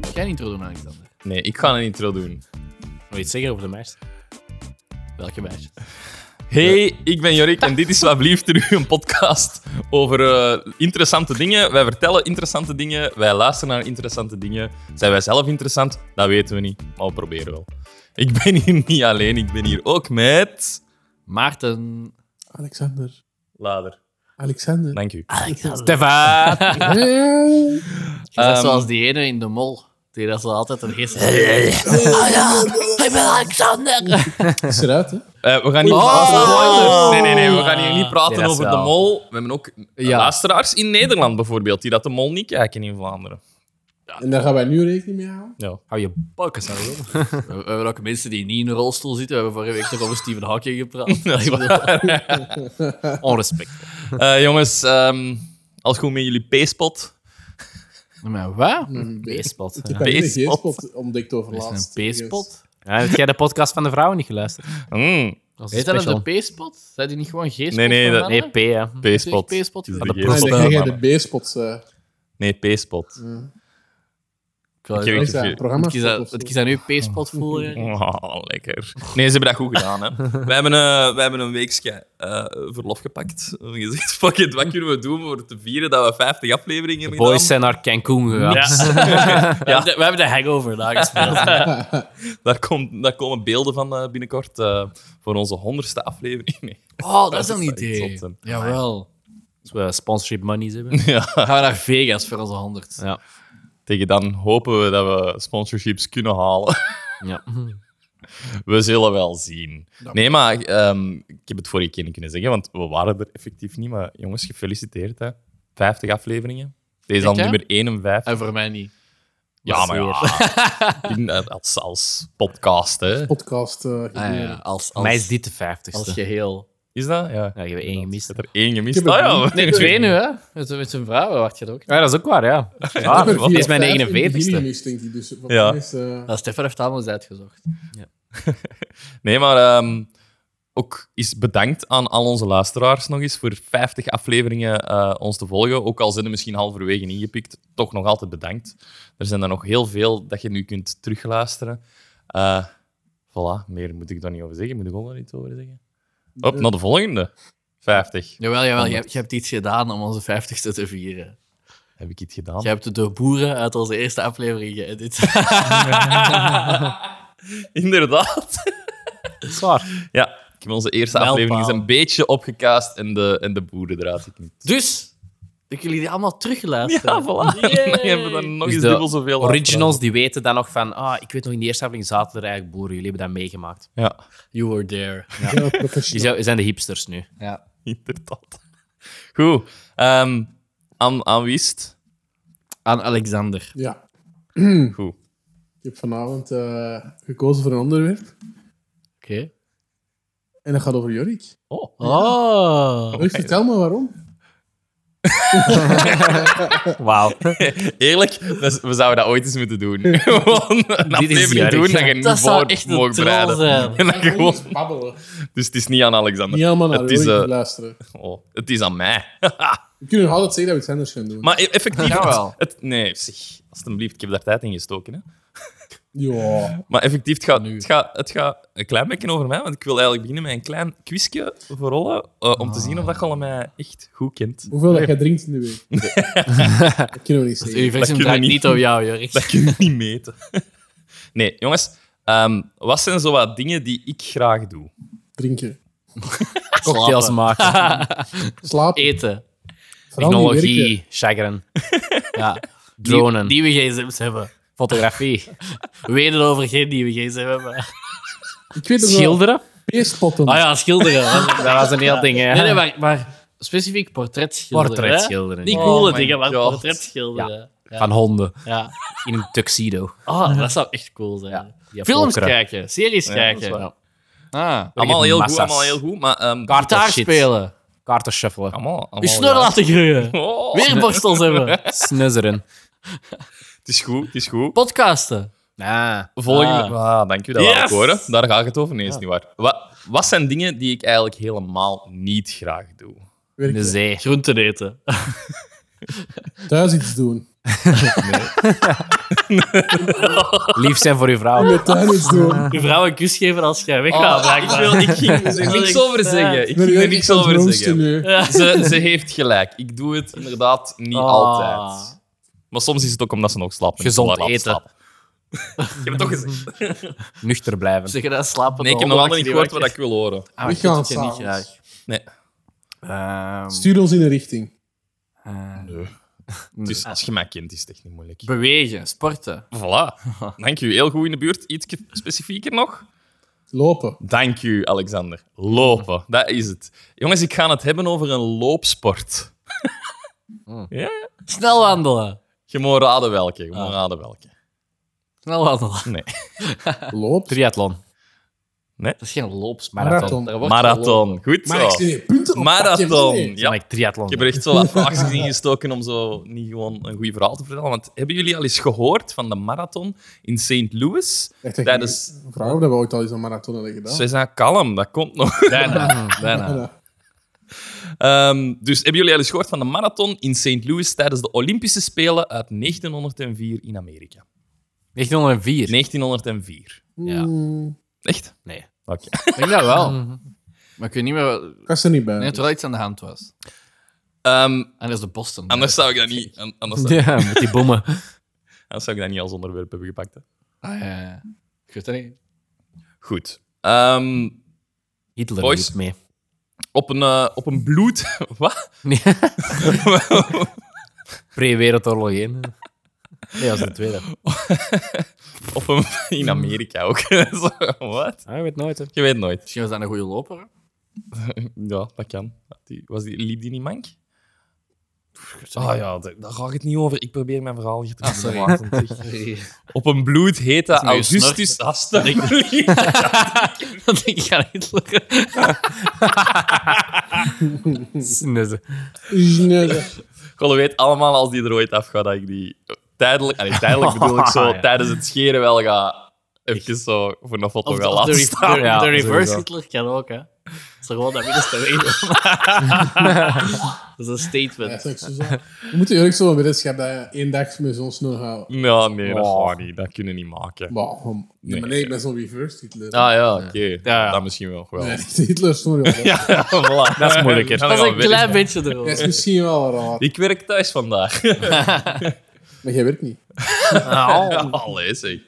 Mag jij een intro doen, Alexander? Nee, ik ga een intro doen. Wil je iets zeggen over de meisjes? Welke meisjes? Hey, ik ben Jorik en dit is Wablieft terug een podcast over eh, interessante dingen. Wij vertellen interessante dingen, wij luisteren naar interessante dingen. Zijn wij zelf interessant? Dat weten we niet, maar we proberen wel. Ik ben hier niet alleen, ik ben hier ook met... Maarten. Alexander. Lader. Alexander. Dank u. Stefan. Hey. dat is Ehm. zoals die ene in de mol. Die dat zo altijd een gist. Oh ja, ik ben Alexander. Is eruit, hè? Eh, we gaan niet Oh, praten spoilers. Nee, nee, nee. We gaan hier niet praten Nee, dat is over de wel- mol. We hebben ook Ja. luisteraars in Nederland bijvoorbeeld die dat de mol niet kijken in Vlaanderen. En daar gaan wij nu rekening mee houden. Ja. Hou je bakken, zou je willen. We we hebben ook mensen die niet in een rolstoel zitten. We hebben vorige week toch over Stephen Hawking gepraat. Dat is waar. Onrespect. Eh, jongens, ehm als goed met jullie P-spot. Maar wat? Beestpot. Ik heb daar Ja. net een Beestpot. geestpot ontdekt over Is laatst. een P-spot? Ja, heb jij de podcast van de vrouwen niet geluisterd? Mm, Dat is Heet dat special. een P-spot? Zijn die niet gewoon G-spot? Nee, nee, voor dat- mannen? Nee, P, hè. P-spot. Zeg P-spot. Het is Ja, de de Nee, P-spot. dan krijg jij de mannen. B-spots. eh. Nee, P-spot. Ik wou- Ik heb- Wat is je- dat? je- Programma? Ik kies dat- Ik kies aan nu P-spot voelen. Oh, lekker. Nee, ze hebben dat goed gedaan. Hè. Wij, hebben, eh, wij hebben een weekje eh, verlof gepakt. We hebben gezegd, fuck it, wat kunnen we doen voor te vieren dat we 50 afleveringen hebben gedaan? Boys zijn naar Cancun gegaan. We hebben de- we hebben de hangover nagespeeld. Daar, komt, daar komen beelden van eh, binnenkort eh, voor onze honderdste aflevering. Nee. Oh, dat is Dat een is wel iets idee. zot, Jawel. Als we sponsorship monies hebben. Ja, Dan gaan we naar Vegas voor onze 100. Ja. tegen dan hopen we dat we sponsorships kunnen halen. ja. We zullen wel zien. Nee, maar ehm, ik heb het vorige keer niet kunnen zeggen, want we waren er effectief niet. Maar jongens, gefeliciteerd. Hè. 50 afleveringen. Deze is al Echt, hè? nummer 51. En voor mij niet. Ja, maar ja. in- eh, als, als podcast, hè. Podcast. eh, Ah, ja, gebeuren. als, als, Mij is dit de als vijftigste. geheel. Is dat? Ja. Ja, je hebt één gemist. Ik heb er één gemist. Ik heb Ah, er ja. Nee, twee nu, hè? Met, met zijn vrouw wacht je er ook. Ja, dat is ook waar, ja. Ik heb Waar, er wat vier is of mijn vijf in het begin 49ste? gemist, denk ik. Dus voor Ja. mij is, eh, Nou, Stefan heeft het allemaal eens uitgezocht. Nee, maar ehm, ook is bedankt aan al onze luisteraars nog eens voor 50 afleveringen eh, ons te volgen. Ook al zijn er misschien halverwege ingepikt, toch nog altijd bedankt. Er zijn er nog heel veel dat je nu kunt terugluisteren. Eh voilà, meer moet ik daar niet over zeggen. Moet ik ook nog iets over zeggen? Op, naar de volgende. 50. Jawel, jawel. Je, hebt- je hebt iets gedaan om onze 50ste te vieren. Heb ik iets gedaan? Je hebt de boeren uit onze eerste aflevering geëdit. Inderdaad. Dat is waar. Ja, ik heb onze eerste Mijlpaal. aflevering eens een beetje opgekaast en de, en de boeren eruit geknipt. dus, ik wil jullie allemaal terugluisteren. Ja, voilà. Dan hebben we dan nog Dus eens de dubbel zoveel Originals die weten dan nog van, ah, ik weet nog in de eerste aflevering zaten er eigenlijk boeren, jullie hebben dat meegemaakt. Ja, You were there. heel Die professioneel. zijn- zijn de hipsters nu. Ja. inderdaad. Goed. ehm, aan, aan wie is het? Aan Alexander. Ja. Goed. Ik heb vanavond eh, gekozen voor een onderwerp. Oké. En dat gaat over Jorik. Oh. Oh. Jorik, vertel me waarom. Wauw. Eerlijk, dat is- we zouden dat ooit eens moeten doen. Gewoon een aflevering Jorik. doen dat je niet Dat zou voor echt een mocht troll zijn. bereiden. En dat je gewoon- Eens babbelen. Dus het is niet aan Alexander. Niet helemaal naar het, is, Jorik eh, luisteren. oh, het is aan mij. We kunnen nog altijd zeggen dat we iets anders gaan doen. Maar e- effectief... Jawel. Het, het- nee, zeg. Alsjeblieft, ik heb daar tijd in gestoken. Hè. Ja. Maar effectief, het gaat, het, gaat, het gaat een klein beetje over mij, want ik wil eigenlijk beginnen met een klein quizje voor Olle, eh, om te zien of dat je Olle mij echt goed kent. Hoeveel dat jij drinkt in de week? dat kunnen we Het niet zeggen. universum kunnen we draait niet. niet. om jou, Jorik. Dat kun je niet meten. Nee, jongens, ehm, wat zijn zo wat dingen die ik graag doe? Drinken. Cocktails Slapen. maken, Slapen. Eten. Vooral niet werken. technologie, chagrin, Ja. Dronen. Nieuwe, nieuwe gsm's hebben. fotografie, Weten over geen nieuwe gsm hebben. Ik weet het wel. schilderen. P-spotten. Ah ja, schilderen. was het. Dat was een heel ding, hè. Nee, nee, maar, maar specifiek portretschilderen. Portretschilderen, hè? Niet ja. coole Oh my dingen, maar God. portretschilderen. Ja. Van honden. Ja. In een tuxedo. Ah, dat zou echt cool zijn. Die Films volkeren. kijken, series Ja, kijken. dat is Ja. Ah. Allemaal ik heel massa's. goed, allemaal heel goed, maar... ehm, Gitaar shit. spelen. Kaarten shuffelen. allemaal, allemaal Je snor ja. laten groeien. Oh, Weer borstels hebben. Snuzzeren. het is goed, het is goed. Podcasten. Ah. Volgende... Ah, dank u, dat Yes! wou ik horen. Daar ga ik het over. Nee, is niet waar. Wat, wat zijn dingen die ik eigenlijk helemaal niet graag doe? In de Werken. zee. Groenten eten. Thuis iets doen. Lief zijn voor uw vrouw. Met tuiners Ah. doen. Je vrouw een kus geven als jij Oh, weggaat, ik, blijkbaar. wil, ik ging er wil niks ik- over ja. zeggen. Ik Ben ging jij er niet niks aan het over roomsten zeggen. nu? Ze, ze heeft gelijk. Ik doe het inderdaad niet Ah. altijd. Maar soms is het ook omdat ze nog slaapt. Gezond Ik laat eten. slapen. Ik heb het toch gezegd. Nuchter blijven. Zeg je dat slapen? Nee, ik heb nog altijd niet gehoord wat ik wil horen. Ah, We ik weet gaan dat je niet samen. graag. Nee. Ehm, Stuur ons in een richting. eh, Het is, als je mij kent, is het echt niet moeilijk. Bewegen, sporten. Voilà. Dank u. Heel goed in de buurt. Iets specifieker nog? Lopen. Dank u, Alexander. Lopen, dat is het. Jongens, ik ga het hebben over een loopsport. Snel wandelen. Je moet raden welke. Je moet Ah. raden welke. Snel wandelen. Nee. Loopt. Triathlon. Dat is geen loopsport. Marathon. Daar wordt Marathon. Goed Maar ik zo. zie hier punten op. Oh. Marathon. Nee. Ja. Ja. Ik triathlon. Ik heb er echt zo wat vraagjes in gestoken om zo niet gewoon een goed verhaal te vertellen. Want hebben jullie al eens gehoord van de marathon in St. Louis? Echt, echt, Dat is- een Vraag of dat we ooit al eens een marathon hebben gedaan. César, kalm, dat komt nog. Bijna. Bijna. Ja. Ehm, dus hebben jullie al eens gehoord van de marathon in St. Louis tijdens de Olympische Spelen uit 1904 in Amerika? 1904. 1904. Ja. Hmm, Echt? Nee. Oké. Ik denk dat wel. Maar ik weet niet meer... wat- Ik Ik was er niet bij. denk dat er wel iets aan de hand was. Ehm, En dat is de Boston. anders zou ik dat niet... an- Anders zou, Ja, met die bommen. anders zou ik dat niet als onderwerp hebben gepakt. Hè. Ah, ja, ja. Ik weet dat niet. Goed. Ehm, Hitler Boys. doet mee. op, een, eh, op een bloed... Wat? Nee. Pre-wereldoorlog 1. Nee, dat is de tweede. op een... In Amerika ook. Zo, Wat? Ah, je weet nooit, hè. Je weet nooit. Misschien was dat een goede loper. hè? Ja, dat kan. Had die- Was die, liep die niet mank? Ah ja, daar, daar ga ik het niet over. Ik probeer mijn verhaal hier te maken. Ah, Op een bloed hete nu je snor. Augustus... Alsjeblieft. Dat denk ik aan Hitler. Ingenieur. Golle weet allemaal als die er ooit afgaat dat ik die tijdelijk... Allee, tijdelijk bedoel ik zo, Ja. tijdens het scheren wel ga... Even zo voor een foto Of gaan de, of de, laten re- staan. de- Ja, de reverse sowieso. Hitler kan ook, hè. Dat is er gewoon dat middenste weten. dat is een Ja, statement. zeg, zo zo. We moeten eerlijk zo'n weddenschap dat je één dag met zo'n snor houden. Ja, nee, dat Oh. gaat niet. Dat kunnen we niet maken. Maar, um, nee, maar nee, ik ben zo'n reverse Hitler. Ah ja, oké. Ja. Dat misschien wel. wel. Nee, echt Hitler snor. Ja, ja. Voilà. Dat is moeilijker. Dan Dat gaan is we een weer- klein beetje Dat is erover. misschien wel raar. Ik werk thuis vandaag. Maar jij werkt niet. Ja, Allee, zeg.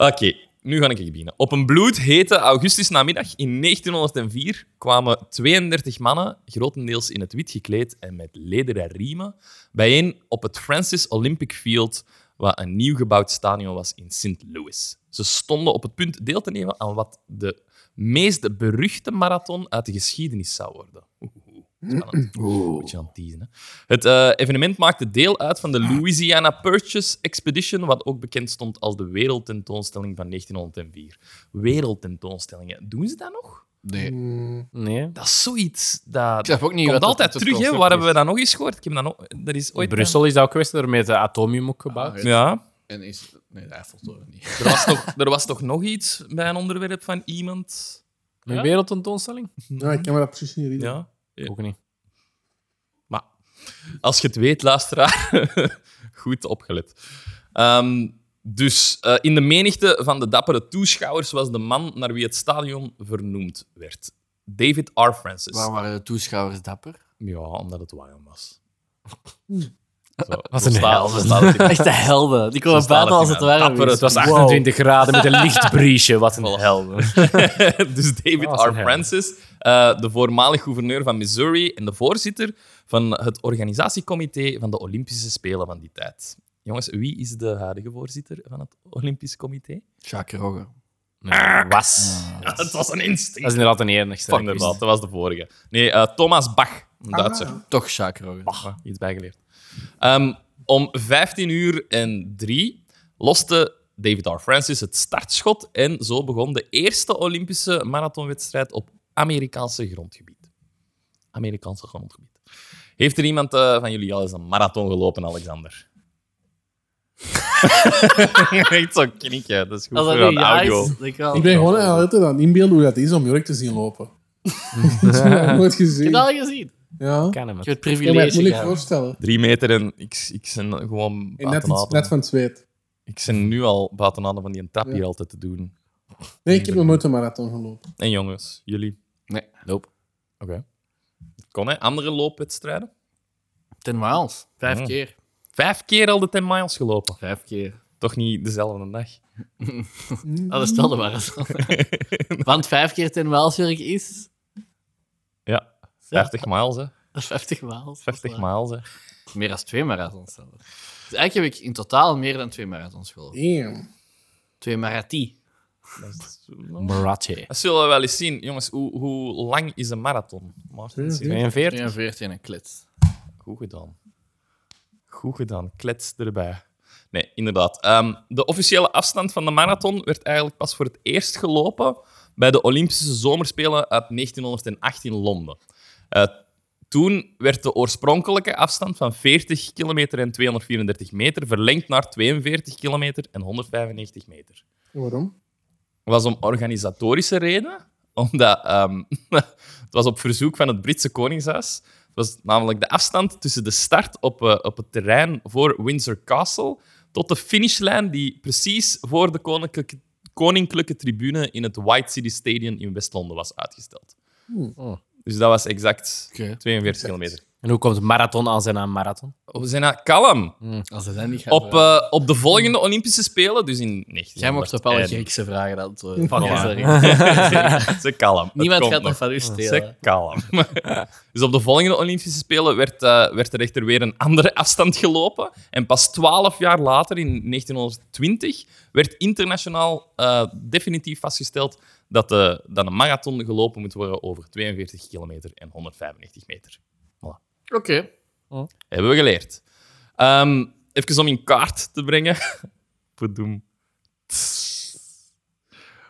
Oké, nu ga ik beginnen. Op een bloedhete augustusnamiddag in 1904 kwamen 32 mannen, grotendeels in het wit gekleed en met lederen riemen, bijeen op het Francis Olympic Field, wat een nieuw gebouwd stadion was in St. Louis. Ze stonden op het punt deel te nemen aan wat de meest beruchte marathon uit de geschiedenis zou worden. Oeh, spannend. Beetje aan het teasen, hè. Het eh, evenement maakte deel uit van de Louisiana Purchase Expedition, wat ook bekend stond als de Wereldtentoonstelling van 1904. Wereldtentoonstellingen, doen ze dat nog? Nee. Nee. Dat is zoiets. Dat Ik snap ook niet komt wat dat altijd tot terug, hè? concept Waar hebben we is. dat nog eens gehoord? Ik heb dat, nog, dat is ooit. Brussel is dat ook geweest, daarmee het atomium ook gebouwd. Ah, Ja, En is... Nee, de Eiffeltoren niet. er was, toch, er was toch nog iets bij een onderwerp van iemand? Een wereldtentoonstelling? Ja, ik kan me dat precies niet herinneren. Ja. Ja. Ook niet. Maar als je het weet, luisteraar, goed opgelet. Ehm, dus eh, in de menigte van de dappere toeschouwers was de man naar wie het stadion vernoemd werd. David R. Francis. Waarom waren de toeschouwers dapper? Ja, omdat het warm was. Zo, Wat zo een staat- hel. zo staat het in- Echt de helden. Die zo komen staat buiten als het in- ware. Dapper, is. het was Wow. 28 graden met een licht briesje. Wat een hel. dus David Oh, zo'n R. hel. Francis, eh, de voormalig gouverneur van Missouri en de voorzitter van het organisatiecomité van de Olympische Spelen van die tijd. Jongens, wie is de huidige voorzitter van het Olympisch Comité? Jacques Rogge. Nee, was. Ja, het was een Dat instinct. is inderdaad een enigste. Van de dat was de vorige. Nee, eh, Thomas Bach, een Duitser. Toch Jacques Rogge. Ah, iets bijgeleerd. Ehm, om 15 uur en 3 loste David R. Francis het startschot en zo begon de eerste Olympische marathonwedstrijd op Amerikaanse grondgebied. Amerikaanse grondgebied. Heeft er iemand eh, van jullie al eens een marathon gelopen, Alexander? Echt zo'n knikje, dat is goed Als dat voor aan nu ja audio. is, dan kan Ik ben gewoon altijd aan het inbeelden hoe dat is om Jurk te zien lopen. dat heb ik nooit gezien. Ik heb Ja. dat al gezien. Ik Kan hem. Ik heb het kan me dat privilege moeilijk gehad. voorstellen. Drie meter en ik, ik ben gewoon En aan net het iets ademen. net van het zweet. Ik ben nu al buiten handen van die tap hier altijd te doen. Nee, ik heb nog nooit een marathon gelopen. En jongens, jullie. Nee, loop. Oké. Kon hè? Andere loopwedstrijden? Ten Waals. Vijf Mm. keer. Vijf keer al de 10 miles gelopen. Vijf keer. Toch niet dezelfde dag. Ah, dat stelde maar eens. Want vijf keer ten Waalswerk is... Ja. 50 miles, hè? dat is 50 Waals. 50 miles, hè? Meer dan twee marathons zelfs. Dus eigenlijk heb ik in totaal meer dan twee marathons gelopen. Damn. Twee marathie. Dat is- Marathé. Dat zullen we wel eens zien. Jongens, hoe, hoe lang is een marathon? Maarten, zie je? 42. 42 en een klits. Goed gedaan. Goed gedaan. Klets erbij. Nee, inderdaad. Ehm, de officiële afstand van de marathon werd eigenlijk pas voor het eerst gelopen bij de Olympische Zomerspelen uit 1908 in Londen. Eh, toen werd de oorspronkelijke afstand van 40 kilometer en 234 meter verlengd naar 42 kilometer en 195 meter Waarom? was om organisatorische redenen. Omdat ehm, het was op verzoek van het Britse Koningshuis. Het was namelijk de afstand tussen de start op, eh, op het terrein voor Windsor Castle tot de finishlijn die precies voor de koninklijke, koninklijke tribune in het White City Stadium in West-Londen was uitgesteld. Oh. Dus dat was exact Hmm. Oké. 42 kilometer. Oh, En hoe komt marathon aan zijn naam marathon? We zijn aan kalm. Als ze dat niet gaan Op, eh, op de volgende Olympische Spelen, dus in 19... Jij mocht op alle Griekse vragen dat eh, Fuck ja. Ze kalm. Het Niemand komt gaat nog. dat van u stelen. Zeg kalm. dus op de volgende Olympische Spelen werd, eh, werd er echter weer een andere afstand gelopen. En pas twaalf jaar later, in 1920, werd internationaal eh, definitief vastgesteld dat, de, dat een marathon gelopen moet worden over 42 kilometer en 195 meter. Oké. Hebben we geleerd. Ehm, even om in kaart te brengen. Poedoem. Tss.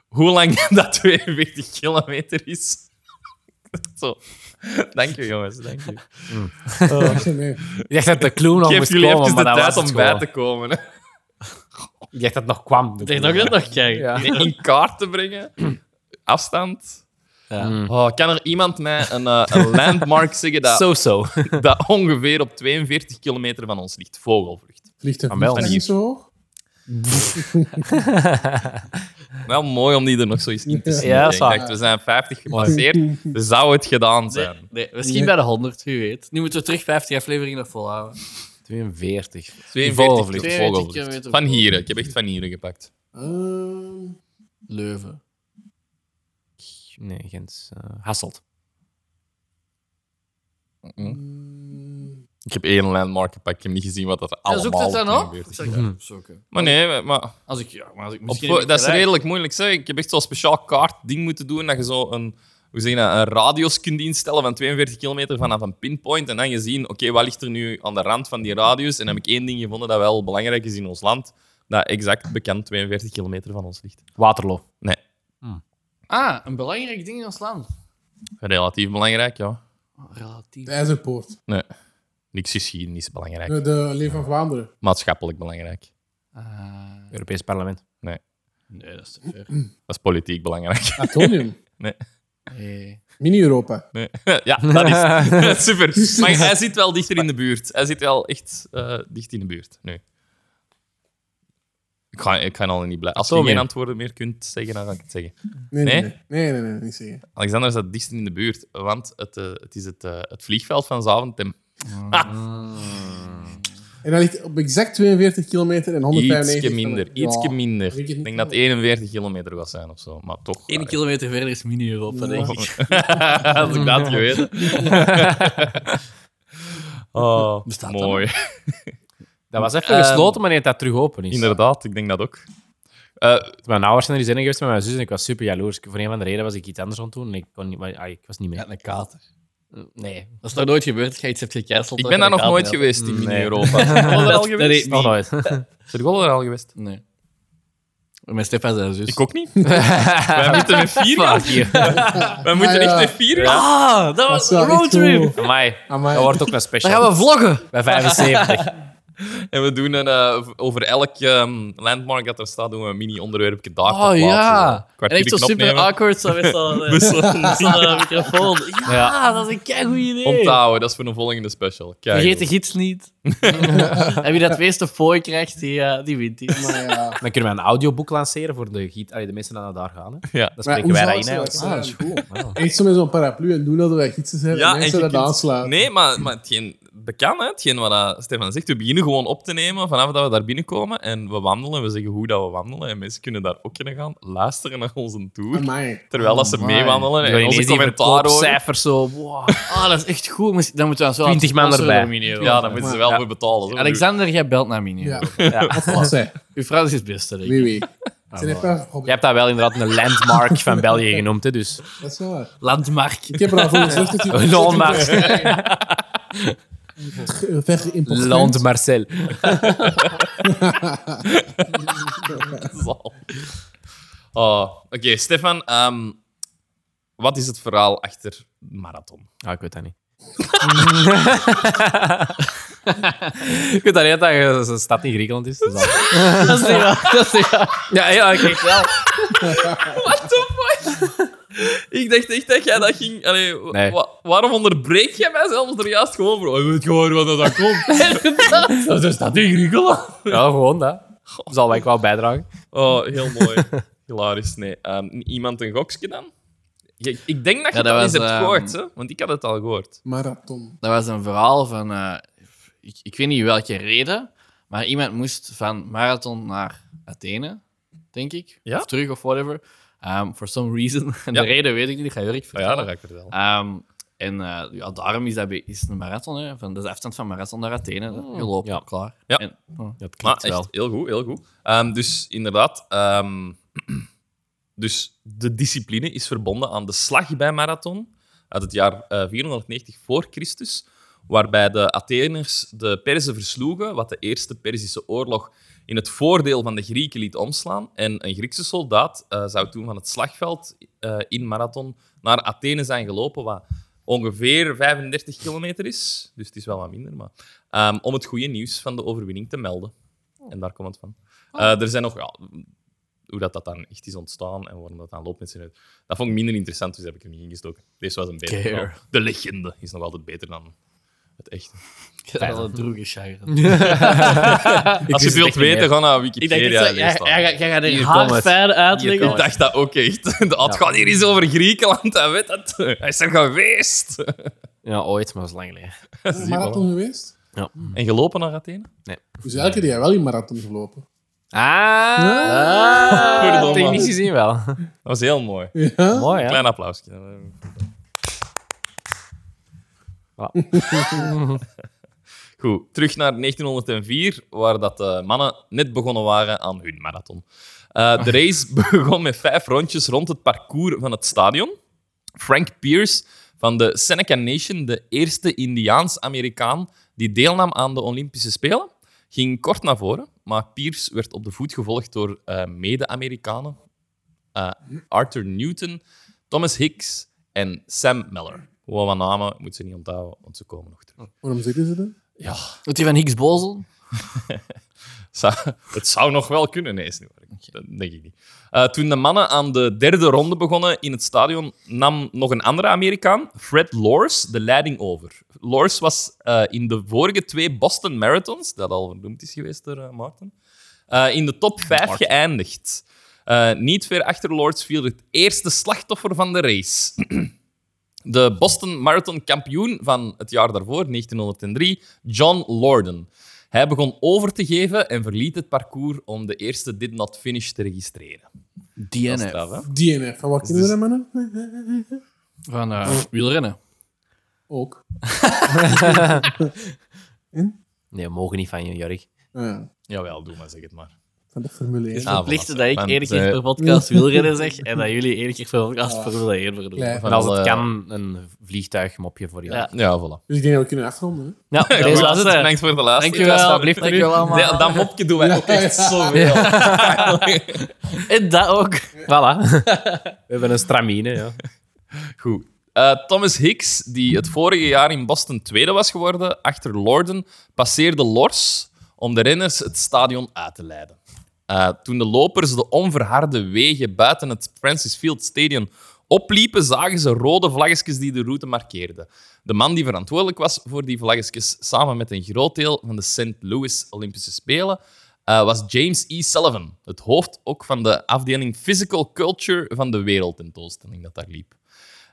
Hoe lang dat 42 kilometer is. Zo. Dank je, jongens. Dank je. Eh. Wacht, nee. Ik dacht dat de clue nog Ik geef moest jullie komen, even de maar dat was tijd het om bij gewoon. te komen. Hè. Ik dacht dat het nog kwam. de Ik clue. dacht dat nog kijken. Ja. Nee, In kaart te brengen. Afstand. Ja. Mm. Oh, kan er iemand mij een, eh, een landmark zeggen dat, So-so. dat ongeveer op 42 kilometer van ons ligt? Vogelvlucht. Vliegt een Maar wel vliegtuig Ah, niet. niet zo hoog? Wel mooi om die er nog zoiets in te zien. Ja, ik zwaar. dacht, we zijn 50 gepasseerd. Dus zou het gedaan zijn. Nee, nee, misschien bij de 100, wie weet. Nu moeten we terug 50 afleveringen nog volhouden. 42. 42 kilometer 42 vogelvlucht. kilometer Van hier, ik heb echt van hier gepakt. Ehm, Leuven. Nee, Gent. eh, Hasselt. Ik heb één landmark gepakt, ik heb niet gezien wat dat Ja, allemaal zoek het dan op. 42 Zeg, ja, zoeken. Maar nee, maar Als ik, ja, maar als ik op, misschien... voor- heb dat is gelijk. redelijk moeilijk. Zeg. Ik heb echt zo'n speciaal kaartding moeten doen, dat je zo een, hoe zeg je dat, een radius kunt instellen van 42 kilometer vanaf een pinpoint en dan gezien, oké, wat ligt er nu aan de rand van die radius? En dan heb ik één ding gevonden dat wel belangrijk is in ons land, dat exact bekend 42 kilometer van ons ligt. Waterloo. Nee, Ah, een belangrijk ding in ons land. Oh, relatief belangrijk, ja. Relatief. de IJzerpoort. Nee, niks geschiedenis belangrijk, Eh, De Leeuw van Vlaanderen. maatschappelijk belangrijk. Ah, Europees parlement. Nee, nee, dat is te ver. dat is politiek belangrijk. Atomium. Nee. Nee. Mini-Europa. Nee. Ja, dat is het. Super. Maar hij zit wel dichter in de buurt. Hij zit wel echt eh, dicht in de buurt nu. Ik ga, ik ga al niet blij. Als je Atomium. geen antwoorden meer kunt zeggen, dan ga ik het zeggen. Nee, Nee? nee, nee. Nee, nee, nee, niet zeggen. Alexander zat dicht in de buurt, want het, eh, het is het, eh, het vliegveld van Zaventem. En dat ligt op exact 42 kilometer en 195. Ietsje minder. Ja. Ietsje minder. weet het Ik niet. denk dat het 41 kilometer was zijn of zo. Maar toch. Eén eh, kilometer verder is Mini-Europa, denk ik. Als ik dat had geweten. oh, Bestaat dat mooi. Dat was even Ehm, gesloten, maar nee, dat terug open is. Inderdaad, ik denk dat ook. Eh, Mijn ouders zijn er eens in geweest met mijn zus en ik was super jaloers. Ik- Voor een van de reden was ik iets anders aan het doen en ik, kon niet, maar, ah, ik was niet mee. Ja, een kater. Nee. Dat is nog nooit gebeurd, dat je iets hebt gecanceld. ik dat je ben daar een kater nog nooit had. geweest in Nee. Mini-Europa. Zijn jullie er al Dat- dat geweest? deed- Nog nooit. Zijn jullie er al geweest? Nee. Met Stefan zijn zus. Ik ook niet. Wij moeten met vier gaan. Wij moeten Ah, ja. echt met vier gaan. Ah, dat Dat was is een wel echt roadtrip. cool. Amai. Amai. Dat wordt ook een Dan special. gaan we vloggen. Bij 75. En we doen een, eh, over elk ehm, landmark dat er staat, doen we een mini-onderwerpje daar Oh ter plaatse. ja. Een En echt kwartiertje zo super Ah, opnemen. awkward zo met zo'n eh, met zo'n microfoon. Ja, dat is een keigoed idee. Om te houden, dat is voor een volgende special. Kijk, Vergeet de gids niet. en wie dat het meeste fooi krijgt, die, eh, die wint. Die. Maar ja, Dan kunnen we een audioboek lanceren voor de, giet, allee, de mensen die naar daar gaan. Hè. Ja. Dan maar spreken hoe zou wij daarin het uit. zo zijn? Goed. Wauw. Echt zo met zo'n paraplu en doen dat wij gidsen zijn Ja, en en je mensen dat kunt- aanslaan. Nee, maar, maar hetgeen, dat kan, hè. Hetgeen wat eh, Stefan zegt. We beginnen gewoon op te nemen vanaf dat we daar binnenkomen. En we wandelen. We zeggen hoe dat we wandelen. En mensen kunnen daar ook kunnen gaan luisteren naar onze tour. Amai. Terwijl dat ze Amai. meewandelen Ik wil en onze ineens die commentaar horen. verkoopcijfers zo. Wow. Ah, dat is echt goed. Moest- Dan moeten we ons wel 20 man sponsoren erbij. nomineren. Ja, daar moeten ze wel Ja. voor betalen. zo. Alexander, jij belt naar Minio. Ja. Ja. Of zij. Uw vrouw is het beste, denk ik. Wie weet. Het zijn echt wel Je problemen. hebt dat wel inderdaad een landmark van België genoemd, hè, dus. Dat is wel waar. Landmark. Ik heb er al voor gezegd dat je... Landmark. Ver important. Land Marcel. Zal. Oh, Oké, Stefan. ehm, wat is het verhaal achter Marathon? Ah, ik weet dat niet. ik weet dat niet dat het een stad in Griekenland is. dus dat- Dat is niet waar. Dat is niet waar. Ja, ja, ik ik wel. Ik dacht echt dat jij dat ging... Allee, wa- Nee. wa- waarom onderbreek jij mij zelfs er juist gewoon voor? Oh, je weet gewoon wat dat komt. dat is dat in Griekenland. Ja, gewoon dat. Zal ik wel bijdragen. Oh, heel mooi. Hilarisch. Nee. Ehm, iemand een gokje dan? Je- ik denk dat je Ja, dat dat eens was, hebt ehm, gehoord, hè? want ik had het al gehoord. Marathon. Dat was een verhaal van... eh, ik, ik weet niet welke reden, maar iemand moest van Marathon naar Athene, denk ik. Ja? Of terug, of whatever. Ehm, for some reason. En Ja. de reden weet ik niet, ik ga Jurk Oh vertellen. ja, dat ga ik vertellen. Ehm, en eh, ja, daarom is dat bij- is het een marathon. Hè? Van, dat is de afstand van marathon naar Athene. Je loopt, ja. klaar. Oh. Ja. En, oh. Dat Maar klopt echt, wel. heel goed, heel goed. Ehm, dus inderdaad, ehm, dus de discipline is verbonden aan de slag bij marathon uit het jaar eh, 490 voor Christus, waarbij de Atheners de Perzen versloegen, wat de Eerste Perzische Oorlog in het voordeel van de Grieken liet omslaan. En een Griekse soldaat eh, zou toen van het slagveld eh, in marathon naar Athene zijn gelopen, wat ongeveer 35 kilometer is. Dus het is wel wat minder, maar... Ehm, om het goede nieuws van de overwinning te melden. En daar komt het van. Eh, er zijn nog... Ja, hoe dat, dat dan echt is ontstaan en waarom dat dan loopt met z'n uit. Dat vond ik minder interessant, dus daar heb ik er niet ingestoken. Deze was een beter. Care. verhaal. De legende is nog altijd beter dan het echte. Dat is wel een droege chagrin. Als je het wilt wist het echt niet weten, ga naar Ik denk Wikipedia. dat eh, en jij, lees dat. jij, jij gaat er Hier hard komt het. fijn Hier uitleggen. Ik komt dacht dat ook echt. De- Het gaat hier eens over Griekenland, hij weet dat. Hij is er geweest. Hmm. Ja, ooit, maar dat is lang geleden. Is een marathon geweest? Ja. En gelopen naar Athene? Dus elke keer wel in marathon gelopen. Ah, Verdomme. technisch gezien wel. Dat was heel mooi. Ja? Mooi, hè? Klein applausje. Ja. Goed, terug naar 1904, waar dat de mannen net begonnen waren aan hun marathon. Eh, Ah. de race begon met vijf rondjes rond het parcours van het stadion. Frank Pierce van de Seneca Nation, de eerste Indiaans-Amerikaan die deelnam aan de Olympische Spelen, ging kort naar voren, maar Pierce werd op de voet gevolgd door eh, mede-Amerikanen eh, Arthur Newton, Thomas Hicks en Sam Miller. Gewoon wat namen, moet ze niet onthouden, want ze komen nog terug. Waarom zitten ze dan? Doet hij van Higgs bozel? Zou- het zou nog wel kunnen, nee, is niet waar. Dat denk ik niet. Eh, toen de mannen aan de derde ronde begonnen in het stadion, nam nog een andere Amerikaan, Fred Lors, de leiding over. Lors was eh, in de vorige twee Boston Marathons, dat al vernoemd is geweest door eh, Maarten, eh, in de top 5 geëindigd. Eh, niet ver achter Lords viel het eerste slachtoffer van de race. De Boston Marathon kampioen van het jaar daarvoor, 1903, John Lorden. Hij begon over te geven en verliet het parcours om de eerste did not finish te registreren. Dat is DNF. straf, hè? DNF. Van wat kennen ze dat, mannen? Van eh, wielrennen. Ook. Nee, we mogen niet van je, Jorik. Ah, Ja, Jawel, doe maar, zeg het maar. van de Formule 1. Het is Ah, voilà. verplicht dat ik Want, één keer eh, per podcast wielrennen zeg en dat jullie één keer per podcast Formule 1 verdoen. Klein. En als het alle- kan, een vliegtuigmopje voor je. Ja. Ja, voilà. Dus ik denk dat we kunnen afronden. hè. Ja, Goed, deze was laatste. het. Bedankt voor de laatste. Dankjewel, Dat is alsjeblieft, dankjewel allemaal. Ja, dat mopje doen wij ook echt Ja. zoveel. En dat ook. Voilà. We hebben een stramine, ja. Goed. Eh, Thomas Hicks, die het vorige jaar in Boston tweede was geworden, achter Lorden, passeerde Lors om de renners het stadion uit te leiden. Eh, toen de lopers de onverharde wegen buiten het Francis Field Stadium opliepen, zagen ze rode vlaggetjes die de route markeerden. De man die verantwoordelijk was voor die vlaggetjes, samen met een groot deel van de St. Louis Olympische Spelen, eh, was James E. Sullivan, het hoofd ook van de afdeling Physical Culture van de wereldtentoonstelling dat daar liep.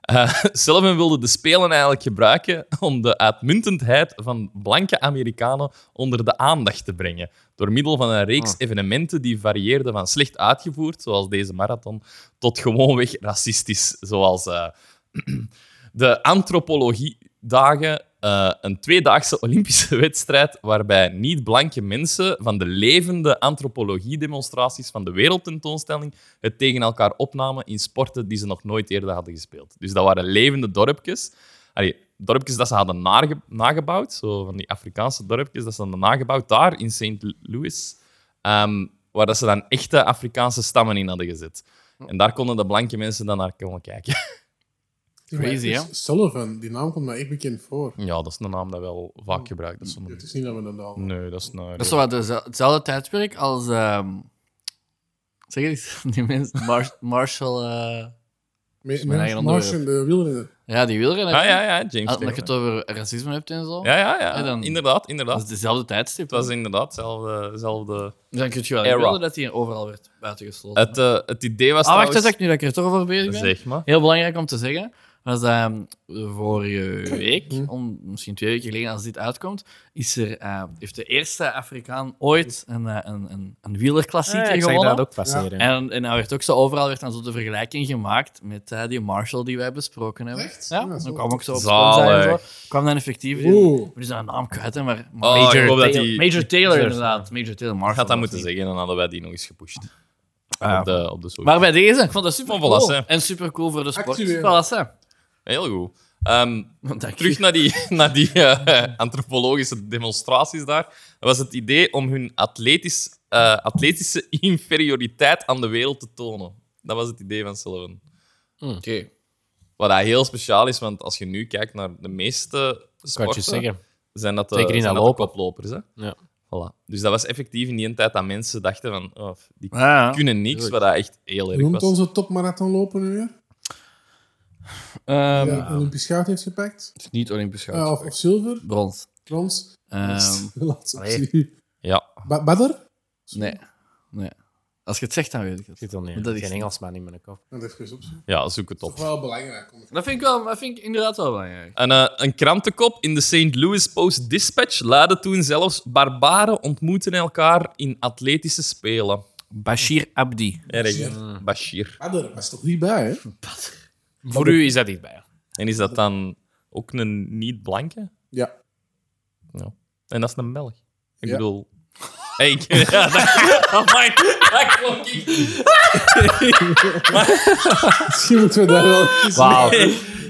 Eh, Sullivan wilde de Spelen eigenlijk gebruiken om de uitmuntendheid van blanke Amerikanen onder de aandacht te brengen. Door middel van een reeks evenementen die varieerden van slecht uitgevoerd, zoals deze marathon, tot gewoonweg racistisch, zoals eh, de antropologiedagen, eh een tweedaagse Olympische wedstrijd waarbij niet-blanke mensen van de levende antropologie-demonstraties van de wereldtentoonstelling het tegen elkaar opnamen in sporten die ze nog nooit eerder hadden gespeeld. Dus dat waren levende dorpjes. Allee, dorpjes dat ze hadden nage- nagebouwd, zo van die Afrikaanse dorpjes dat ze hadden nagebouwd daar in St. Louis, ehm, waar dat ze dan echte Afrikaanse stammen in hadden gezet. En daar konden de blanke mensen dan naar komen kijken. Crazy, Maar hè? het is Sullivan, die naam komt mij echt bekend voor. Ja, dat is een naam dat wel vaak gebruikt is. Het is niet dat we dat al... Nee, dat is nou. Dat is zo wat deze- hetzelfde tijdperk als. ehm, zeg eens, die mensen. Mar- Marshall. eh, Me- mijn Mens eigen Mars in onderwerp. de wielrenner. ja, die wielrenner. Ah, ja, ja, James Als je Taylor. het over racisme hebt en zo. Ja, ja, ja. Ja, dan- Inderdaad, Dat inderdaad. is dezelfde Het tijdstip. was inderdaad hetzelfde. hetzelfde. Dan kun je wel Era. willen dat hij overal werd buitengesloten. Het, eh, het idee was ah, wacht, dat trouwens... zeg ik nu dat ik er toch over bezig ben. Zeg maar. Heel belangrijk om te zeggen, was ehm, vorige week, om, misschien twee weken geleden als dit uitkomt, is er, eh, heeft de eerste Afrikaan ooit een, eh, een, een, een wielerklassieker ik zag gewonnen. dat ook passeren. En, en nou werd ook zo, overal werd dan zo de vergelijking gemaakt met eh, die Marshall die wij besproken hebben. Echt? Ja, Ja, dan zo. kwam ook zo op Zalig. Spotify en zo. Kwam dan effectief in. Oeh. We zijn de naam kwijt, hè, maar Oh, Major, ik hoop dat Taylor, die- Major Taylor inderdaad. Major Taylor Marshall. Ik had dat moeten was die. zeggen en dan hadden wij die nog eens gepusht. Ah, op de, op de social. Maar bij deze, ik vond dat super Van Volasse. cool. En super cool voor de sport. Actueel. Volasse. Heel goed. Ehm, Dank je. terug naar die, naar die eh, antropologische demonstraties daar. Dat was het idee om hun atletisch, eh, atletische inferioriteit aan de wereld te tonen. Dat was het idee van Sullivan. Oké. Wat dat heel speciaal is, want als je nu kijkt naar de meeste kan het je sporten, zeggen. zijn dat de, Zeker in zijn dat dat de lopen. koplopers. Hè? Ja. Voilà. Dus dat was effectief in die tijd dat mensen dachten van, oh, die Ja. kunnen niks, wat dat echt heel erg Noemt was. onze topmarathonloper nu weer? Ehm, Die een Olympisch goud heeft gepakt. Het is niet Olympisch goud. Eh, of, of zilver, Brons. brons. Ehm, De laatste allee. optie. Ja, Ba- Badder? nee. nee. Als je het zegt, dan weet ik het. Zit dan Dat niet. is- Geen Engelsman in mijn kop. Dat even opzoeken. ja, zoek het Dat op. is wel belangrijk. om- Dat vind ik, wel, dat vind ik inderdaad wel belangrijk. Een, eh, een krantenkop in de St. Louis Post-Dispatch luidde toen zelfs... Barbaren ontmoeten elkaar in atletische spelen. Bashir Abdi. Erg, hè? Bashir. Badder was toch niet bij, hè? Voor u is dat niet bij. En is dat dan ook een niet-blanke? Ja. Ja. En dat is een Belg. Ik Ja. bedoel... Hey, ik- ja, dat, Amai, dat klonk ik. Misschien moeten we daar wel even... Wauw.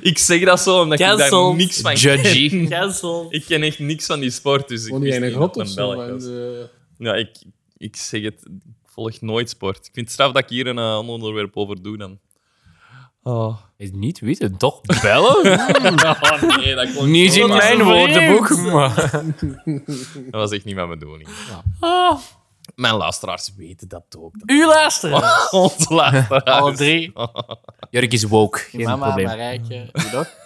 Ik zeg dat zo omdat ik daar Cancelled. niks van Judgy. Cancel. Ik ken echt niks van die sport, dus ik Gewoon niet wist een niet grot dat of het een zo. Belg maar, was. eh, Ja, ik, ik zeg het, ik volg nooit sport. Ik vind het straf dat ik hier een eh, ander onderwerp over doe dan. Oh. Is niet weten, toch bellen? Oh, Nee, dat klonk niet zo- in dat mijn was- woordenboek. maar- Dat was echt niet mijn bedoeling. Ah, Mijn luisteraars weten dat ook. Dat u luisteren. onze luisteraars. Alle drie. Jurk is woke. Geen Mama, probleem. Marijke. Wie dat?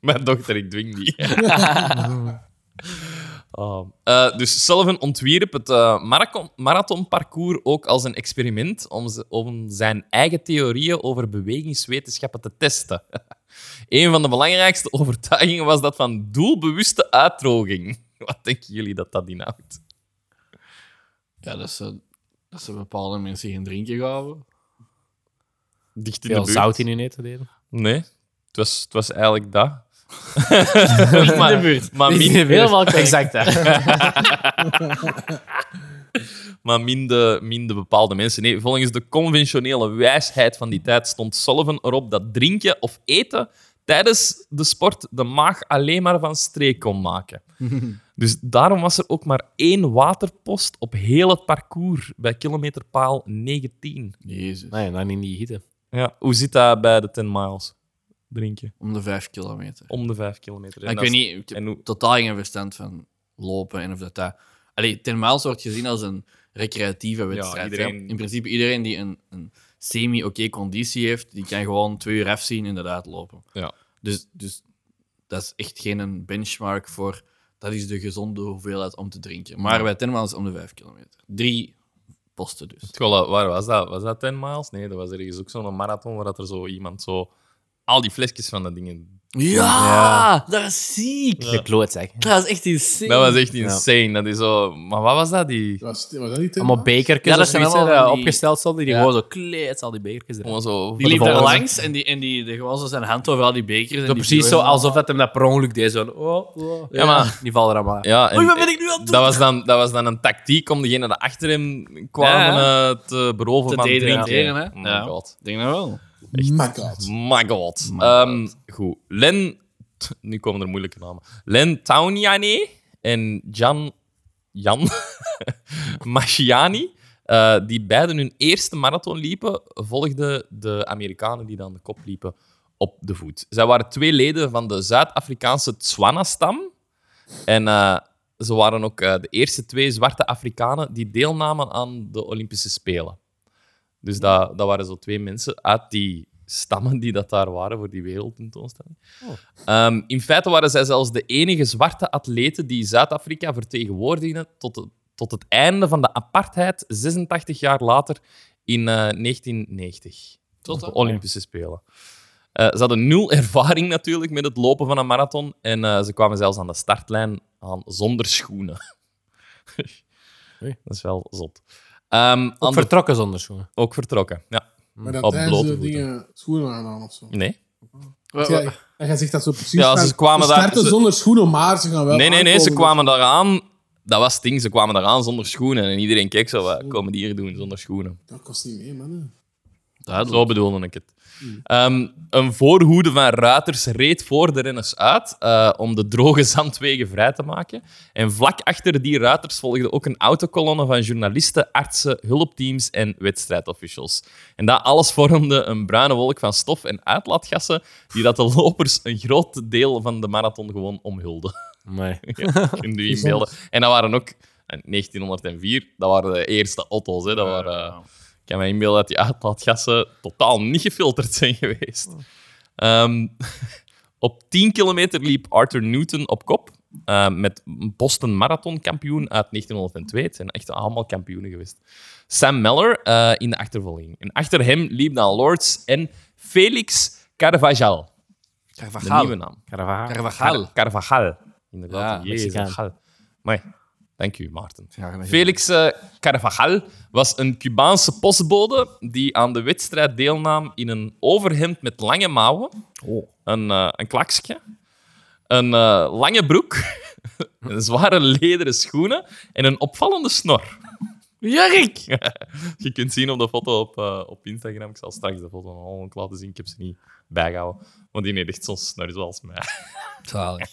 Mijn dochter, ik dwing die. Oh. Eh, dus Sullivan ontwierp het eh, maracon- marathonparcours ook als een experiment om, ze- om zijn eigen theorieën over bewegingswetenschappen te testen. een van de belangrijkste overtuigingen was dat van doelbewuste uitdroging. Wat denken jullie dat dat inhoudt? Ja, dat ze, dat ze bepaalde mensen geen drinken gaven. Dicht in de Veel buurt? zout in hun eten deden. Nee, het was, het was eigenlijk dat. maar, maar min- Helemaal exact. hè. maar minder, minder bepaalde mensen. Nee, volgens de conventionele wijsheid van die tijd stond Sullivan erop dat drinken of eten tijdens de sport de maag alleen maar van streek kon maken. dus daarom was er ook maar één waterpost op heel het parcours bij kilometerpaal 19. Jezus. Nee, dan in die hitte. Ja, hoe zit dat bij de 10 miles? Drinken. Om de vijf kilometer. Om de 5 kilometer. En Maar ik dat weet is- niet, ik heb en hoe- totaal geen verstand van lopen en of dat dat... Allee, termaals wordt gezien als een recreatieve wedstrijd. hè. iedereen- In principe iedereen die een, een semi-oké conditie heeft, die kan gewoon twee uur afzien inderdaad lopen. Ja. Dus, dus dat is echt geen een benchmark voor... Dat is de gezonde hoeveelheid om te drinken. Maar bij tenmaal is het om de vijf kilometer. Drie posten dus. Het goal, waar was dat? Was dat 10 miles? Nee, dat was ergens ook zo'n marathon waar dat er zo iemand zo al die flesjes van dat dingen. Ja, dat is ziek. De kloot, zeg. Dat is echt insane. Dat was echt insane. Dat is zo. Maar wat was dat? Die Was, was dat niet Allemaal bekertjes Ja, dat of zijn zoiets, allemaal hè, van die- opgesteld stonden. Die Ja. gewoon zo kleed, al die bekertjes erin. gewoon zo. Die liep voor de daar volgende- langs en die, en die, die gewoon zo zijn hand over al die bekers. En Zo die precies zo viel- alsof dat hem dat per ongeluk deed. Zo, oh, oh. Ja, maar- Die vallen er allemaal uit. Ja, en- Oei, wat ben ik nu aan het doen? dat was, dan, dat was dan een tactiek om degene die achter hem kwamen eh, te beroven Te van dehydrateren, drinken. hè? Oh my Ja. god. Ik denk dat wel. Mm, My god. My My god. god. Ehm, goed. Len... t- Nu komen er moeilijke namen. Len Tauniani en Jan... Jan? Masciani. eh, die beiden hun eerste marathon liepen, volgden de Amerikanen die dan de kop liepen op de voet. Zij waren twee leden van de Zuid-Afrikaanse Tswana-stam. En eh, ze waren ook eh, de eerste twee zwarte Afrikanen die deelnamen aan de Olympische Spelen. Dus dat, dat waren zo twee mensen uit die stammen die dat daar waren voor die wereldtentoonstelling. Oh. Ehm, in feite waren zij zelfs de enige zwarte atleten die Zuid-Afrika vertegenwoordigden tot, de- tot het einde van de apartheid 86 jaar later in eh, 1990. Tot Oh. de Olympische Spelen. Eh, ze hadden nul ervaring natuurlijk met het lopen van een marathon en eh, ze kwamen zelfs aan de startlijn aan zonder schoenen. Oei. Dat is wel zot. Ehm, aan Ook de- vertrokken zonder schoenen. ook vertrokken, ja. Maar dat Mm, Op tijdens blote de voeten. dingen schoenen aandaan of zo. Nee. Wa- wa- Ja, en jij zegt dat zo precies. Ja, ze van, kwamen daar- starten ze- zonder schoenen, maar ze gaan wel. Nee, nee, nee, ze aankomen. kwamen daaraan. Dat was het ding, ze kwamen daaraan zonder schoenen. En iedereen keek zo, wat komen die hier doen zonder schoenen? Dat kost niet mee, man. Zo bedoelde ik het. Ehm, een voorhoede van ruiters reed voor de renners uit eh, om de droge zandwegen vrij te maken. En vlak achter die ruiters volgde ook een autocolonne van journalisten, artsen, hulpteams en wedstrijdofficials. En dat alles vormde een bruine wolk van stof en uitlaatgassen die dat de lopers een groot deel van de marathon gewoon omhulden. Nee. Ja, kunt u inbeelden. En dat waren ook, eh, en 1904, dat waren de eerste auto's. Hè. Dat waren, eh, ik kan me inbeelden dat die uitlaatgassen totaal niet gefilterd zijn geweest. Ehm, op 10 kilometer liep Arthur Newton op kop. eh, met een Boston Marathon kampioen uit 1902. Het zijn echt allemaal kampioenen geweest. Sam Meller eh, in de achtervolging. En achter hem liep dan Lords en Felix Carvajal. De nieuwe Carvajal. naam. Carvajal. Carvajal. Car- Carvajal. Inderdaad. Ja, Jezus, Mexicaan. Gal. Amai. Dank u, Maarten. Ja, dat- Felix eh, Carvajal was een Cubaanse postbode die aan de wedstrijd deelnam in een overhemd met lange mouwen, een, eh een klaksje, een eh, lange broek, een zware lederen schoenen en een opvallende snor. Jurk! Je kunt zien op de foto op, eh, op Instagram. Ik zal straks de foto nog allemaal laten zien. Ik heb ze niet bijgehouden. Want die heeft echt zo'n snor zoals mij. Zalig.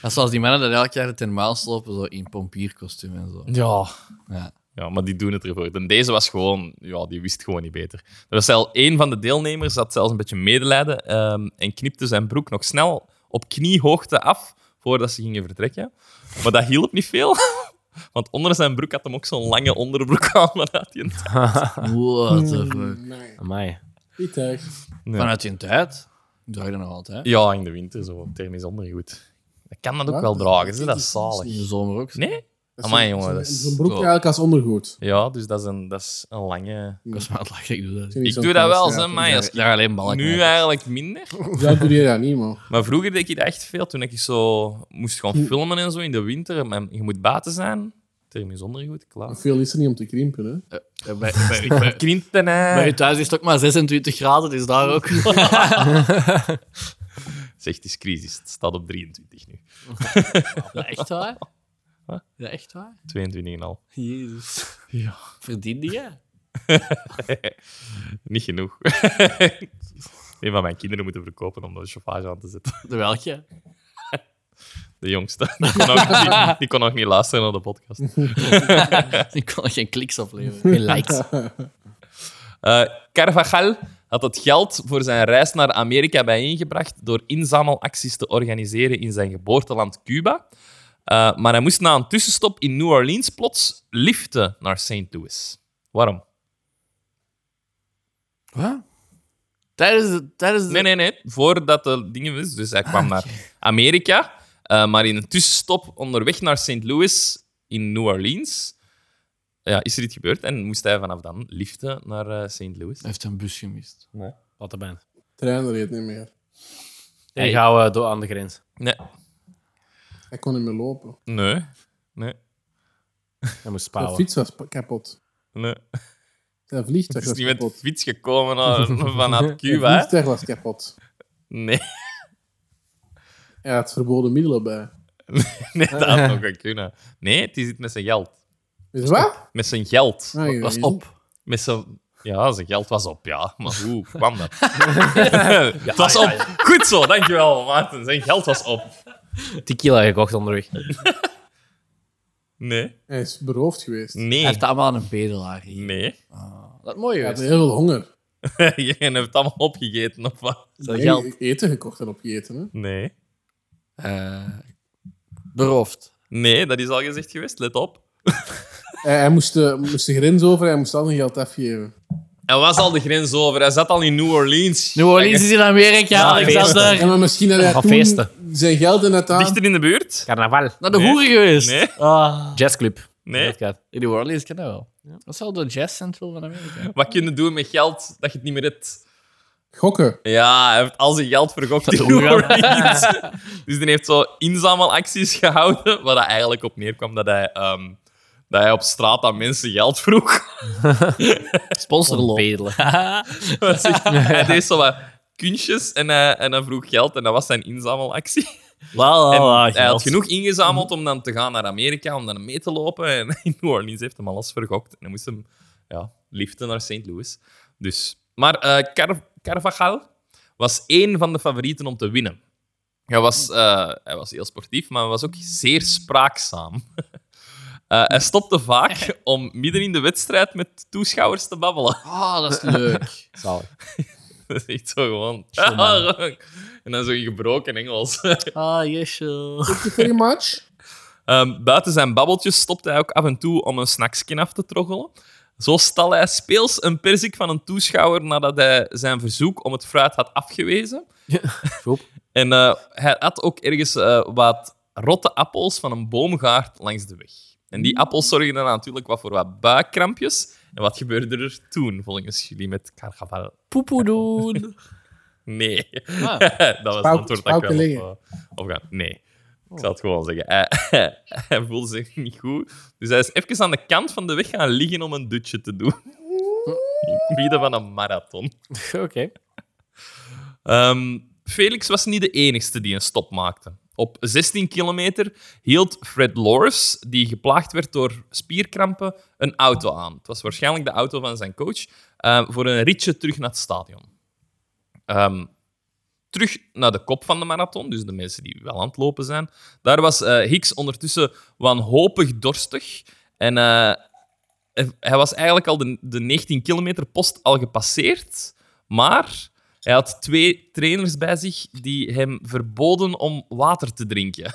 Dat is zoals die mannen dat elk jaar ten maals lopen, zo in pompierkostuum en zo. Ja. Ja. Ja, maar die doen het ervoor. En deze was gewoon, ja, die wist gewoon niet beter. Er was zelfs één van de deelnemers had zelfs een beetje medelijden ehm, en knipte zijn broek nog snel op kniehoogte af voordat ze gingen vertrekken. Maar dat hielp niet veel, want onder zijn broek had hem ook zo'n lange onderbroek aan. Maar dat had hij een tijd. What the fuck. Nee, Amai. niet echt. Vanuit je tijd draag je dat nog altijd. Ja, in de winter zo, thermisch ondergoed. Ik kan dat ook Ja, wel dat- dragen, ze, dat dat is is In de zalig. zomer ook. Nee? Amai, jongen. Dat Zo'n is... broek eigenlijk als ondergoed. Ja, dus dat is een, dat is een lange... Ik was maar aan het lachen, ik doe dat. Zijn niet Ik zo'n doe dat wel, koude zo, straat. maar als Daar- Daar alleen balken. nu eigenlijk minder. Ja, doe je dat niet, man. Maar vroeger deed ik dat echt veel. Toen ik zo moest gaan filmen en zo in de winter. Maar je moet buiten zijn. Termisch ondergoed, klaar. Maar veel is er niet om te krimpen, hè. Bij, bij, bij, Krinten, bij hè. je thuis is het ook maar 26 graden, dus daar ook. Zeg, het is crisis. Het staat op 23 nu. Ja, echt waar? Ja, echt waar? 22 en al. Jezus. Ja. Verdiende je? Niet genoeg. Een van mijn kinderen moeten verkopen om de chauffage aan te zetten. De welke? De jongste. Die kon ook, die, die kon ook niet luisteren naar de podcast. Ik kon er geen kliks opleveren. Geen likes. Eh, Carvajal had het geld voor zijn reis naar Amerika bijeengebracht door inzamelacties te organiseren in zijn geboorteland Cuba. Eh, Eh, maar hij moest na een tussenstop in New Orleans plots liften naar St. Louis. Waarom? Wat? Tijdens de... Tijdens de... Nee, nee, nee. Voordat de dingen was. Dus hij kwam naar Amerika. eh, maar in een tussenstop onderweg naar St. Louis in New Orleans ja, is er iets gebeurd. En moest hij vanaf dan liften naar eh, St. Louis. Hij heeft een bus gemist. Wat er bent. trein reed niet meer. Dan gaan we eh, door aan de grens. Nee. Hij kon niet meer lopen. Nee. Nee. Dan moest Zijn spouwen. fiets was pa- kapot. nee. Zijn vliegtuig Is was niet met de kapot. fiets gekomen naar, vanuit Zijn Cuba? hè? vliegtuig was kapot. Nee. Hij had verboden middelen bij. Nee, dat had nog wel kunnen. Nee, het is iets met zijn geld. Is wat? Met zijn geld. Ah, ik Was weet niet. op. Met zijn... Ja, zijn geld was op, ja. Maar hoe kwam dat? het was op. Goed zo, dankjewel, Maarten. Zijn geld was op. Tequila gekocht onderweg. Nee. Hij is beroofd geweest. Hij Nee. heeft allemaal aan een bedelaar hier. Nee. Dat is mooi, Hij had geweest. heel veel honger. Je hebt het allemaal opgegeten, of wat? Dat Nee, geld. Eten gekocht en opgegeten. Hè? Nee. eh, beroofd. Nee, dat is al gezegd geweest. Let op. Hij, hij moest, de, moest de grens over en hij moest al zijn geld afgeven. Hij was al de grens over. Hij zat al in New Orleans. New Orleans is in Amerika, Ja, Alexander. Ja, maar misschien had hij Gaan toen feesten. zijn geld in het aan... Dichter in de buurt? Carnaval. Naar de Nee. hoeren geweest. Nee. Ah. Jazzclub. Nee. In New Orleans kan dat wel. Dat is wel de jazz central van Amerika. Wat kun je doen met geld dat je het niet meer hebt? Gokken. Ja, hij heeft al zijn geld vergokt in New Orleans. dus die heeft zo inzamelacties gehouden, waar dat eigenlijk op neerkwam dat hij, ehm, dat hij op straat aan mensen geld vroeg. Sponsorloop. Bedelen. Dat is echt- hij deed zo wat kunstjes en hij, en hij vroeg geld en dat was zijn inzamelactie. En Ah, hij had genoeg ingezameld om dan te gaan naar Amerika, om dan mee te lopen. En in New Orleans heeft hem alles vergokt. En hij moest hem ja, liften naar St. Louis. Dus. Maar eh Car- Carvajal was één van de favorieten om te winnen. Hij was, eh, hij was heel sportief, maar hij was ook zeer spraakzaam. Eh, hij stopte vaak om midden in de wedstrijd met toeschouwers te babbelen. Ah, dat is leuk. Zalig. Dat is echt zo gewoon... en dan zo in gebroken Engels. Ah, yesho. Pretty much. Ehm, buiten zijn babbeltjes stopte hij ook af en toe om een snackskin af te troggelen. Zo stal hij speels een perzik van een toeschouwer nadat hij zijn verzoek om het fruit had afgewezen. Joep. En eh, hij had ook ergens eh, wat rotte appels van een boomgaard langs de weg. En die appels zorgden dan natuurlijk wat voor wat buikkrampjes. En wat gebeurde er toen, volgens jullie, met Carcaval? Poepoe doen. Nee. Ah. dat was het Spouw- antwoord dat ik spouwken wel liggen. op, eh, op ga. Nee. Ik zal het gewoon zeggen. Hij, hij voelde zich niet goed. Dus hij is even aan de kant van de weg gaan liggen om een dutje te doen. In het midden van een marathon. Oké. Ehm, Felix was niet de enigste die een stop maakte. Op 16 kilometer hield Fred Loris, die geplaagd werd door spierkrampen, een auto aan. Het was waarschijnlijk de auto van zijn coach, eh, voor een ritje terug naar het stadion. Ehm, terug naar de kop van de marathon, dus de mensen die wel aan het lopen zijn. Daar was eh, Hicks ondertussen wanhopig dorstig. En eh, hij was eigenlijk al de, de 19 kilometer post al gepasseerd. Maar hij had twee trainers bij zich die hem verboden om water te drinken.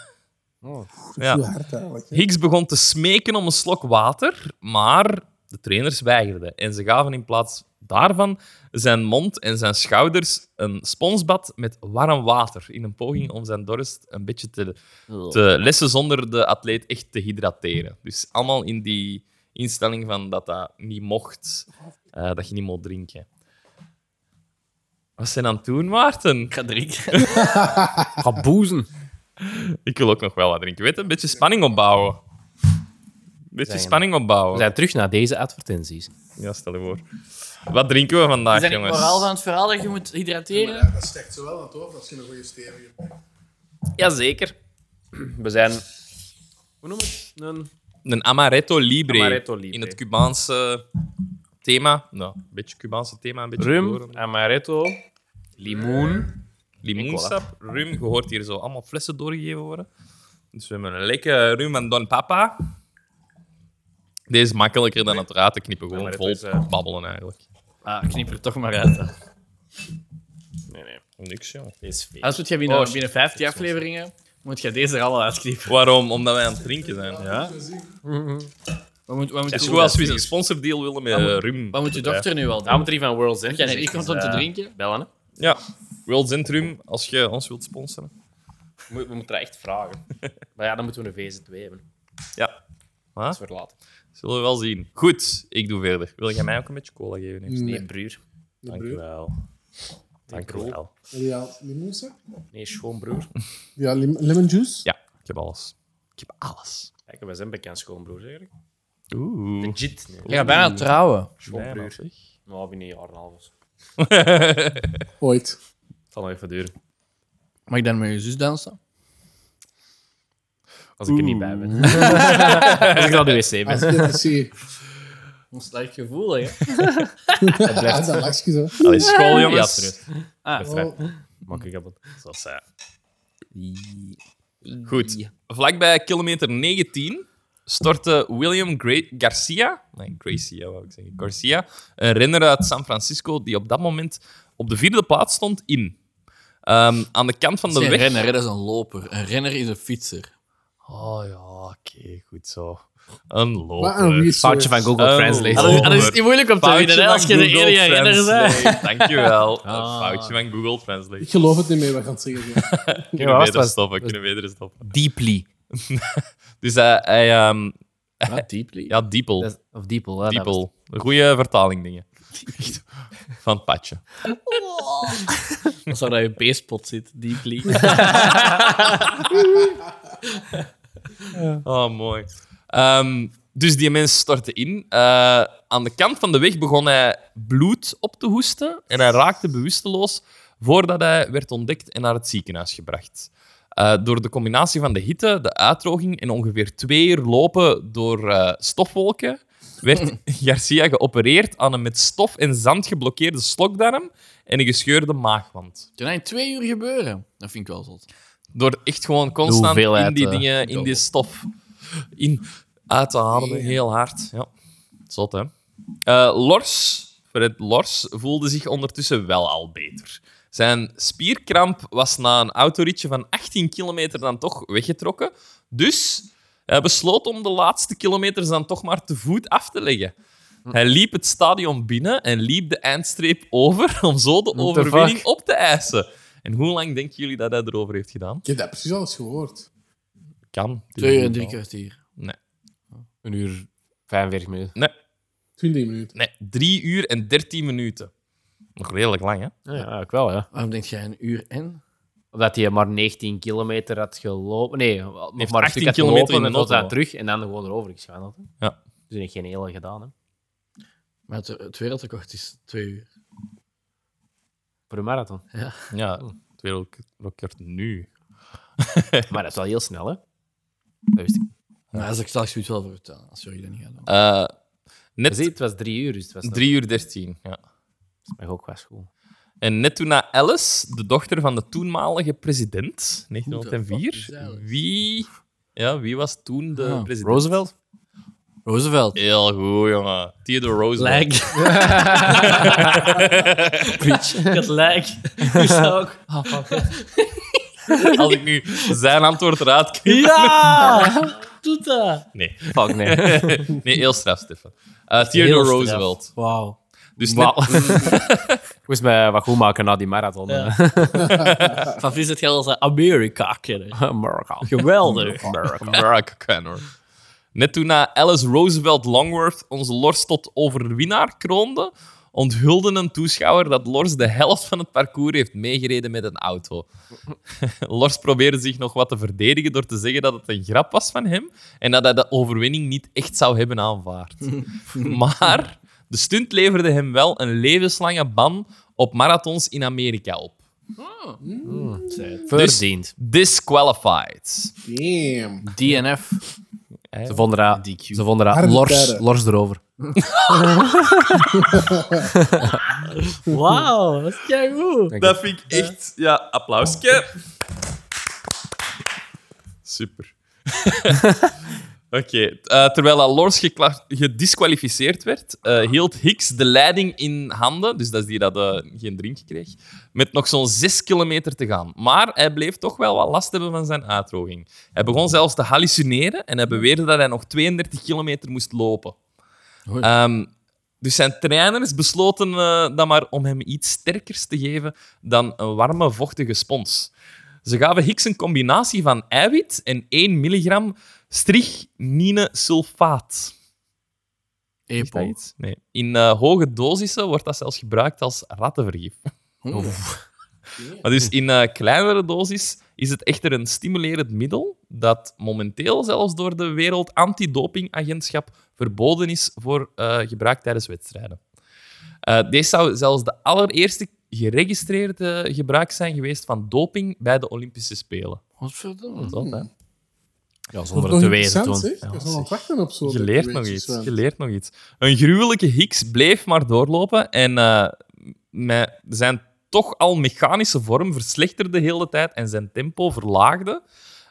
Oh, Ja. Zo hard eigenlijk. hè. Hicks begon te smeken om een slok water, maar de trainers weigerden. En ze gaven in plaats daarvan zijn mond en zijn schouders een sponsbad met warm water. In een poging om zijn dorst een beetje te, te eh, lessen zonder de atleet echt te hydrateren. Dus allemaal in die instelling van dat dat niet mocht, eh, dat je niet mocht drinken. Wat zijn aan het doen, Maarten? Ik ga drinken. Ga boezen. Ik wil ook nog wel wat drinken. Weet je, een beetje spanning opbouwen. Een beetje Zijn we- spanning We opbouwen. zijn terug naar deze advertenties. Ja, stel je voor. Wat drinken we vandaag, Zijn ik jongens? vooral van het verhaal dat je moet hydrateren? Ja, dat steekt zo wel aan het hoofd als je een goede stevige Jazeker. We zijn... Hoe noem je het? Een... Een amaretto libre. Amaretto libre. In het Cubaanse thema. Nou, een beetje Cubaanse thema. Een beetje Rum, verloren. amaretto, limoen. Limoensap, rum. Je hoort hier zo allemaal flessen doorgegeven worden. Dus we hebben een lekkere rum en Don Papa. Deze is makkelijker dan het raad te knippen. Gewoon Amaretto vol is, eh, babbelen eigenlijk. Ah, knip er toch maar uit. hè. Nee, nee. Niks, joh. Deze is fake. Als we het hebben binnen, Oh, binnen 15 afleveringen, Moet jij deze er allemaal uitknippen? Waarom? Omdat wij aan het drinken zijn. Ja? Wat moet, wat moet Het is je- goed als we een sponsordeal willen met eh, rum. Wat moet je dochter nu wel Daarom doen? moet er iemand World's End. Jij ik komt om te drinken. Bellen, hè. Ja. World Zint Rum, als je ons wilt sponsoren. We, we moeten er echt vragen. maar ja, dan moeten we een VZ2 hebben. Ja. Dat is weer laat. Zullen we wel zien. Goed, ik doe verder. Wil jij mij ook een beetje cola geven? eerst? Nee. Bruur. De Dank u broer. wel. Dank u broer. wel. Ja, limoensap? Nee, schoonbroer. Ja, lim- lemon juice. Ja, ik heb alles. Ik heb alles. Kijk, wij zijn bekend schoonbroer eigenlijk. Oeh. Legit. Nee. Nou, Je gaat bijna trouwen. Bijna, Schoonbroer. zeg. Nou, binnen een jaar en een half. of zo. Ooit. Het zal nog even duren. Mag ik dan met je zus dansen? Als ik er niet bij ben. Als ik naar de wc ben. Als ik het zie. Een slecht gevoel, hè? Ah, dat lachje zo. Oh, Allee, school, jongens. Ja, Ah, Makkelijk dat. Zoals zij. Goed. Vlakbij kilometer 19 stortte William Gra- Garcia, nee, Gracia wou ik zeggen, Garcia, een renner uit San Francisco die op dat moment op de vierde plaats stond, in. Ehm, aan de kant van de dat is geen weg... renner, hè, dat is een loper. Een renner is een fietser. Oh ja, oké, goed zo. Een Wat een loper. research. Google Oh. Ah, dus- dat is- ah, dat is Loper. niet moeilijk om te winnen, hè, van als je de Google enige renner Ah. bent. Translate. Dankjewel. Een foutje van Google Translate. Ik geloof het niet meer, we gaan het zeggen. Kunnen was- beter was- stoppen, kunnen beter stoppen. Deeply. Dus hij... hij ehm, deeply? ja, Diepel. Of Diepel. Diepel. Een goede vertaling dingen. Echt. Van het padje. Als er dat je beespot zit, deeply. Oh, mooi. Ehm, dus die mens stortte in. Eh, aan de kant van de weg begon hij bloed op te hoesten. En hij raakte bewusteloos voordat hij werd ontdekt en naar het ziekenhuis gebracht. Eh, door de combinatie van de hitte, de uitdroging en ongeveer twee uur lopen door eh, stofwolken werd Garcia geopereerd aan een met stof en zand geblokkeerde slokdarm en een gescheurde maagwand. Kan dat in twee uur gebeuren? Dat vind ik wel zot. Door echt gewoon constant hoeveelheid, in die eh, dingen, in die stof, in, uit te ademen, heel hard. Ja. Zot, hè? Eh, Lors, Fred Lors, voelde zich ondertussen wel al beter. Zijn spierkramp was na een autoritje van 18 kilometer dan toch weggetrokken. Dus hij besloot om de laatste kilometers dan toch maar te voet af te leggen. Hij liep het stadion binnen en liep de eindstreep over om zo de the overwinning fuck? op te eisen. En hoe lang denken jullie dat hij erover heeft gedaan? Ik heb dat precies alles gehoord. Kan. Twee uur en drie kwartier. Oh. Een uur 45 minuten. Nee, 20 minuten. nee, drie uur en dertien minuten. Nog redelijk lang, hè? Ah, Ja, ja, ik wel, ja. Waarom denk jij een uur en? Omdat hij maar 19 kilometer had gelopen. Nee, nog heeft maar een 18 stuk had kilometer in gelopen de en dan auto. daar terug en dan gewoon erover geschandeld. hè. Ja. Dus hij heeft geen hele gedaan, hè. Maar het, het wereldrecord is twee uur. Voor een marathon. Ja, het wereldrecord nu. Maar dat is wel heel snel, hè. Dat wist ik. Nou, als ik straks zoiets wel voor vertellen, als jullie dat niet gaan doen. Eh, Je ziet, net het was drie uur, dus het was drie uur dertien, ja. Maar ook was goed. En net toen na Alice, de dochter van de toenmalige president, Hoe de fuck is 1904, Alice? wie, ja, wie was toen de Ah, president? Roosevelt? Roosevelt. Heel goed, jongen. Theodore Roosevelt. Dat lijkt. Is dat ook? Ah, Als ik nu zijn antwoord eruit knip- Ja! Doet dat! Nee. Fuck, nee. nee, heel straf, Stefan. Eh, Theodore straf. Roosevelt. Wauw. Dus net, Moest mij wat goed maken na die marathon. Ja. eh. Van Vries het geld als een Amerika kennen. Marathon. Geweldig. America kan hoor. Net toen na Alice Roosevelt Longworth onze Lors tot overwinnaar kroonde, onthulde een toeschouwer dat Lors de helft van het parcours heeft meegereden met een auto. Lors probeerde zich nog wat te verdedigen door te zeggen dat het een grap was van hem en dat hij de overwinning niet echt zou hebben aanvaard. Maar de stunt leverde hem wel een levenslange ban op marathons in Amerika op. Dus- Verdiend. Disqualified. Damn. DNF. Ze vonden dat, ze vonden dat Harde lors, tijden. lors erover. Wauw, dat is kei goed. Dat vind ik echt... Ja, applausje. Super. Oké, eh, terwijl Alors gekla- gedisqualificeerd werd, eh, hield Hicks de leiding in handen, dus dat is die dat eh, geen drinkje kreeg, met nog zo'n 6 kilometer te gaan. Maar hij bleef toch wel wat last hebben van zijn uitdroging. Hij begon zelfs te hallucineren en hij beweerde dat hij nog 32 kilometer moest lopen. Oei. Ehm, dus zijn trainers besloten eh dan maar om hem iets sterkers te geven dan een warme, vochtige spons. Ze gaven Hicks een combinatie van eiwit en 1 milligram sulfaat. E Is dat Epo. iets? Nee. In eh, hoge dosissen wordt dat zelfs gebruikt als rattenvergif. Maar dus in eh, kleinere dosis is het echter een stimulerend middel dat momenteel zelfs door de Wereld Antidopingagentschap verboden is voor eh, gebruik tijdens wedstrijden. Eh, deze zou zelfs de allereerste geregistreerde gebruik zijn geweest van doping bij de Olympische Spelen. Wat verdomme. Wat, hè? Ja, Dat zonder is het nog te weten interessant, toen. zeg. Ik was al aan het wachten op zo'n... Je leert nog iets. Je leert nog iets. Een gruwelijke Hicks bleef maar doorlopen en eh, met zijn toch al mechanische vorm verslechterde heel de tijd en zijn tempo verlaagde.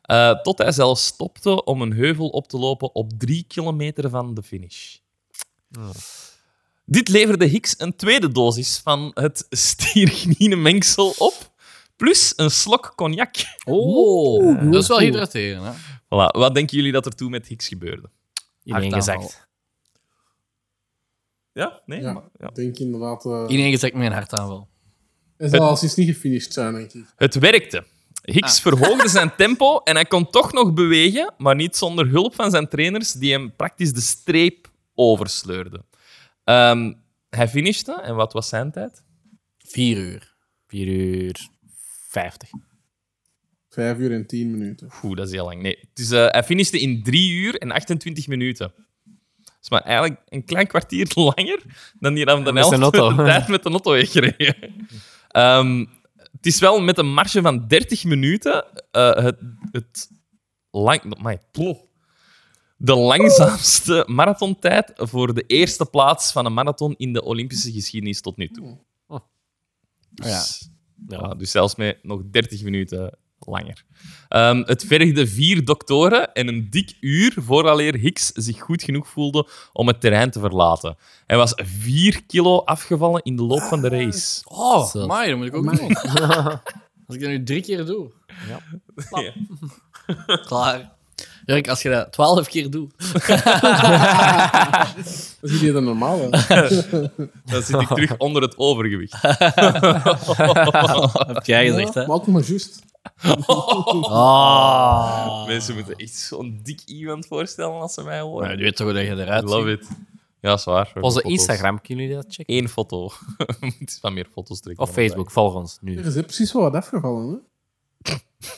eh, tot hij zelfs stopte om een heuvel op te lopen op drie kilometer van de finish. Oh. Dit leverde Hicks een tweede dosis van het styrchnine mengsel op, plus een slok cognac. Oh, dat is wel hydrateren, hè? Voilà, wat denken jullie dat er toen met Hicks gebeurde? Iedereen Hard gezegd. aanval. Ja? Nee? Ja, Maar- ja. ik denk inderdaad... eh Iedereen gezegd met een hartaanval. Hij zal als iets niet gefinished zijn, denk ik. Het werkte. Hicks verhoogde zijn tempo en hij kon toch nog bewegen, maar niet zonder hulp van zijn trainers, die hem praktisch de streep oversleurden. Ehm, hij finishte, en wat was zijn tijd? Vier uur. 4 uur 50. Vijf uur en tien minuten. Oeh, dat is heel lang. Nee, het is, eh, hij finishte in 3 uur en 28 minuten. Dat is maar eigenlijk een klein kwartier langer dan die dan de met zijn helft van de auto. tijd met de auto heeft gereden. Ehm, het is wel met een marge van 30 minuten eh, het, het lang, amai, plof. de langzaamste marathontijd voor de eerste plaats van een marathon in de Olympische geschiedenis tot nu toe. Dus, Oh Ja. ja, dus zelfs met nog 30 minuten langer. Ehm, het vergde vier doktoren en een dik uur vooraleer Hicks zich goed genoeg voelde om het terrein te verlaten. Hij was 4 kilo afgevallen in de loop van de race. Ah, Oh, Zot. maar dat moet ik ook doen. Als ik dat nu drie keer doe. Ja. Plap. Ja. Klaar. Jurk, als je dat twaalf keer doet. Dat is hier dan normaal, hè? Dan zit ik terug onder het overgewicht. heb jij gezegd, hè? Maar altijd maar juist. Ah. Oh. Mensen moeten echt zo'n dik iemand voorstellen als ze mij horen. Maar je weet toch dat je I eruit love it. Ja, zwaar. Onze Instagram kunnen jullie dat checken. Eén foto. Het is van meer foto's trekken. Of Facebook, volg ons nu. Er is precies wel wat afgevallen, hè?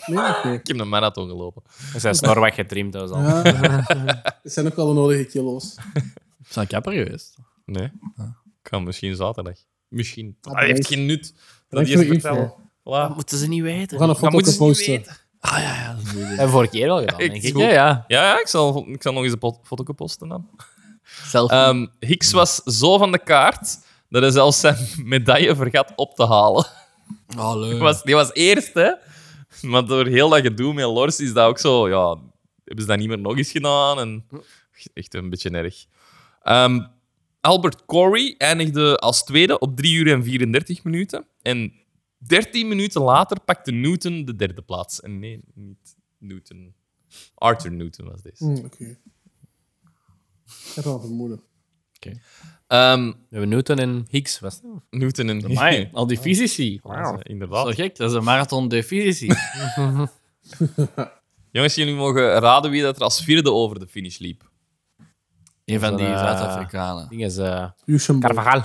Nee, oké. Ik heb een marathon gelopen. We zijn snorweg getrimd, dat is al. Ja. Het zijn ook wel de nodige kilo's. Is dat kapper geweest? Nee. Kan misschien zaterdag. Misschien. Ah, Ah, Hij heeft nice. geen nut. Dat Dank is voor de info. vertellen. Ah, Voilà. moeten ze niet We weten. gaan een Dat foto moeten ook ze niet posten. weten. Ah ja, ja. dat is een goeie idee. En vorige keer al gedaan, Echt denk ik. goed. Ja, ja. Ja, ja, ik zal, ik zal nog eens een pot- foto posten dan. Selfie. Ehm, Hicks was zo van de kaart dat hij zelfs zijn medaille vergat op te halen. oh, leuk. Die was, die was eerst, hè. Maar door heel dat gedoe met Lors is dat ook zo... Ja, hebben ze dat niet meer nog eens gedaan? En echt een beetje erg. Ehm, Albert Corey eindigde als tweede op 3 uur en 34 minuten. En 13 minuten later pakte Newton de derde plaats. En nee, niet Newton. Arthur Newton was deze. Hm, Oké. Ik heb al vermoeden. Ehm, We hebben Newton en Higgs, was het? Newton en... Amai, Ah, al die fysici. Ja, eh, Dat Inderdaad. is wel gek, dat is een marathon de fysici. Jongens, jullie mogen raden wie dat er als vierde over de finish liep. Een van die Zo'n, eh, Zuid-Afrikanen. Ding is eh, Usain Carvajal.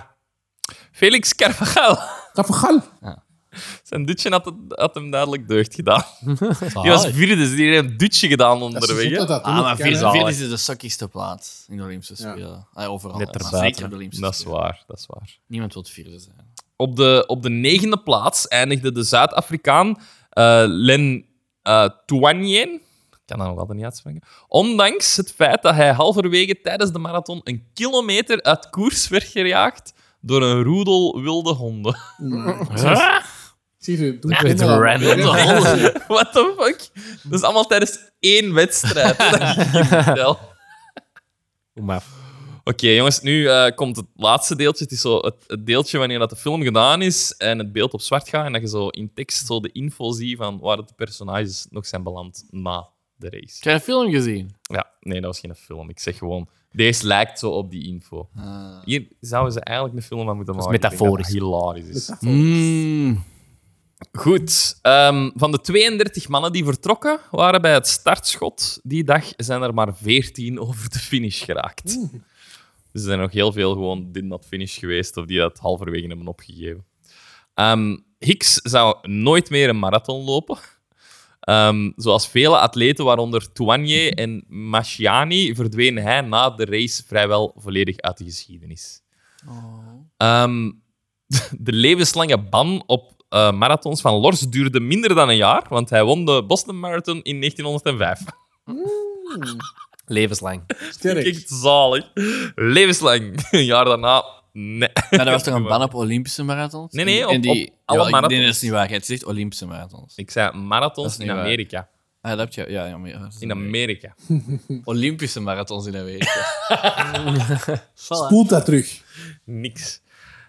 Felix Carvajal. Carvajal. Zijn dutje had, het- had hem duidelijk deugd gedaan. Die was vierde, dus die heeft een dutje gedaan Dat is goed onderweg. hè. dat dat Ah, maar doen kan, hè. vierde, vierde is de sukkigste plaats in de Olympische Ja. Spelen. Ah, overal. Net maar erbuiten, zeker hè. de Olympische Dat is Spelen. waar, dat is waar. Niemand wil vierde zijn. Op de, op de negende plaats eindigde de Zuid-Afrikaan eh, Len eh Tuanien. Ik kan dat nog altijd niet uitspreken. Ondanks het feit dat hij halverwege tijdens de marathon een kilometer uit koers werd gejaagd door een roedel wilde honden. Nee. Zie je, doe Ja, het met wel. random. What the fuck? Dat is allemaal tijdens één wedstrijd. Dat is niet vertel. Kom maar af. Oké, jongens, nu eh, komt het laatste deeltje. Het is zo het, het deeltje wanneer dat de film gedaan is en het beeld op zwart gaat en dat je zo in tekst zo de info ziet van waar de personages nog zijn beland na de race. Heb je een film gezien? Ja, nee, dat was geen film. Ik zeg gewoon, deze lijkt zo op die info. Hier zouden ze eigenlijk een film aan moeten maken. Ik denk dat dat Hilarisch is. Mm. Hmm. Goed. ehm, van de 32 mannen die vertrokken waren bij het startschot die dag, zijn er maar 14 over de finish geraakt. Dus er zijn nog heel veel gewoon dit dat finish geweest of die dat halverwege hebben opgegeven. Ehm, Hicks zou nooit meer een marathon lopen. Ehm, zoals vele atleten, waaronder Touanier en Masciani, verdween hij na de race vrijwel volledig uit de geschiedenis. Ehm, de levenslange ban op eh, marathons van Lors duurde minder dan een jaar, want hij won de Boston Marathon in 1905. Levenslang. Sterk. Kijk, zalig. Levenslang. Een jaar daarna, nee. Maar dat was toch een ban op Olympische marathons? Nee, nee, En- op- en die, op alle Ja, ik- Nee, marathons. dat is niet waar. Het zegt Olympische marathons. Ik zei Dat marathons is niet in waar. Amerika. Ah, dat heb je... Ja, ja, maar, ja, dat is- In Amerika. Olympische marathons in Amerika. Spoelt dat terug. Niks.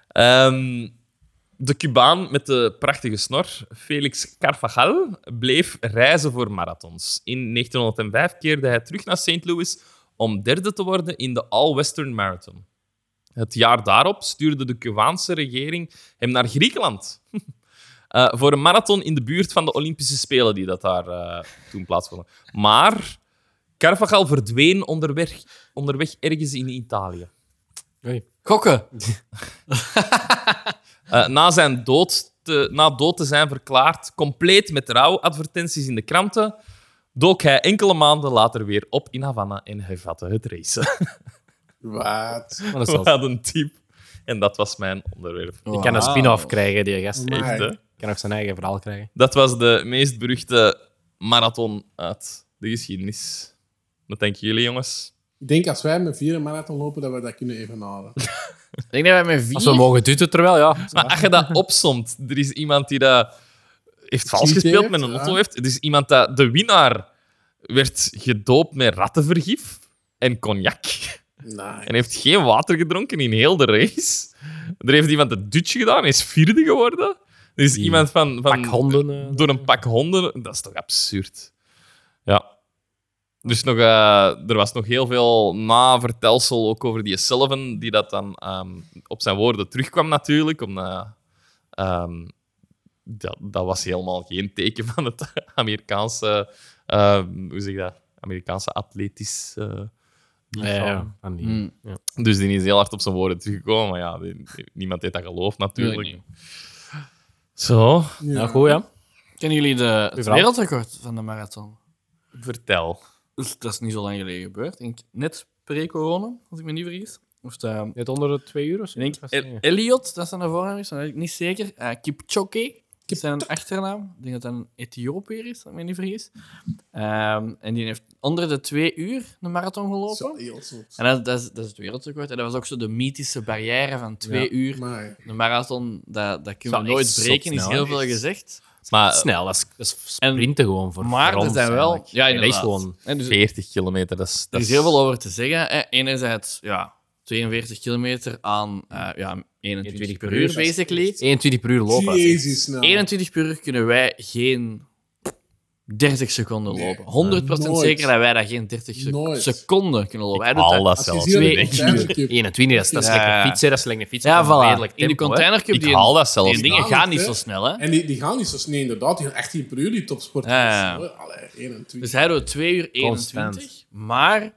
Ehm, de Cubaan met de prachtige snor, Felix Carvajal, bleef reizen voor marathons. In 1905 keerde hij terug naar St. Louis om derde te worden in de All-Western Marathon. Het jaar daarop stuurde de Cubaanse regering hem naar Griekenland. Eh, voor een marathon in de buurt van de Olympische Spelen die dat daar eh, toen plaatsvonden. Maar Carvajal verdween onderweg, onderweg ergens in Italië. Gokken. Eh, na, zijn dood te, na dood te zijn verklaard, compleet met rouwadvertenties in de kranten, dook hij enkele maanden later weer op in Havana en hervatte het racen. Wat? Maar dat is wel- Wat een typ. En dat was mijn onderwerp. Die kan een spin-off krijgen, die gast. Maar- Echt, hè? kan ook zijn eigen verhaal krijgen. Dat was de meest beruchte marathon uit de geschiedenis. Wat denken jullie, jongens? Ik denk als wij met vier een marathon lopen, dat we dat kunnen evenaren. Ik denk dat wij met vier... Als we mogen tutten, terwijl, ja. Maar als je dat opsomt, er is iemand die dat heeft vals Cheated, gespeeld met een ja. auto heeft. Er is iemand dat de winnaar werd gedoopt met rattenvergif en cognac. Nice. En heeft geen water gedronken in heel de race. Er heeft iemand een dutje gedaan, is vierde geworden. Er is iemand van, van Pak honden. eh. door een pak honden. Dat is toch absurd? Ja. Dus nog, eh, er was nog heel veel navertelsel ook over die Sullivan, die dat dan ehm, op zijn woorden terugkwam natuurlijk. Omdat, ehm, dat, dat was helemaal geen teken van het Amerikaanse, ehm, hoe zeg je dat? Amerikaanse atletisch... eh, Ja, ja, van die. Mm. dus die is heel hard op zijn woorden teruggekomen. Maar ja, die- die- niemand heeft dat geloofd natuurlijk. Tuurlijk Zo, Ja, goed, ja. Kennen jullie de, het verhaal. wereldrecord van de marathon? vertel. Dus dat is niet zo lang geleden gebeurd. Ik denk net pre-corona, als ik me niet vergis. Of de, Net onder de twee uur of zo. ik Was denk het El- niet? Elliot, dat zijn de voornaam is, dat weet ik niet zeker. Eh Kipchoge, dat is zijn achternaam. Ik denk dat dat een Ethiopiër is, als ik me niet vergis. Ehm, en die heeft onder de twee uur de marathon gelopen. Zo, heel zot. En dat, dat, is, dat is het wereldrecord. En dat was ook zo de mythische barrière van twee uur. Amai. De marathon, dat, dat kunnen Zou we echt nooit zot breken, is snel, heel echt. veel gezegd. Maar eh, Snel, dat is, dat is sprinten gewoon voor Ah, Maar voor er ons zijn wel... eigenlijk. Ja, En dat is inderdaad. gewoon... En dus, 40 kilometer, dat is... Er dat is heel veel over te zeggen. hè. Enerzijds, ja, 42 kilometer aan eh, ja, 21 per uur, basically. 21 per uur lopen. dat is echt- Jezus nou. 21 per uur kunnen wij geen 30 seconden lopen. 100% Nooit. zeker dat wij dat geen 30 sec- Nooit. seconden kunnen lopen. Wij doen Al dat Als je zelfs. ziet dat twee ik op uur. tijd heb- 21, dat is, dat is Ja. lekker fietsen, dat is lekker fietsen. Ja, van een voilà. redelijk In de tempo, hè. containercup, Ik die, haal dat zelfs die dingen niet. gaan niet zo snel, hè. En die, die gaan niet zo snel, inderdaad. Die gaan echt geen per uur, die topsport. Ja, ja. Allee, 21. Dus hij doet 2 uur Constant. 21. Maar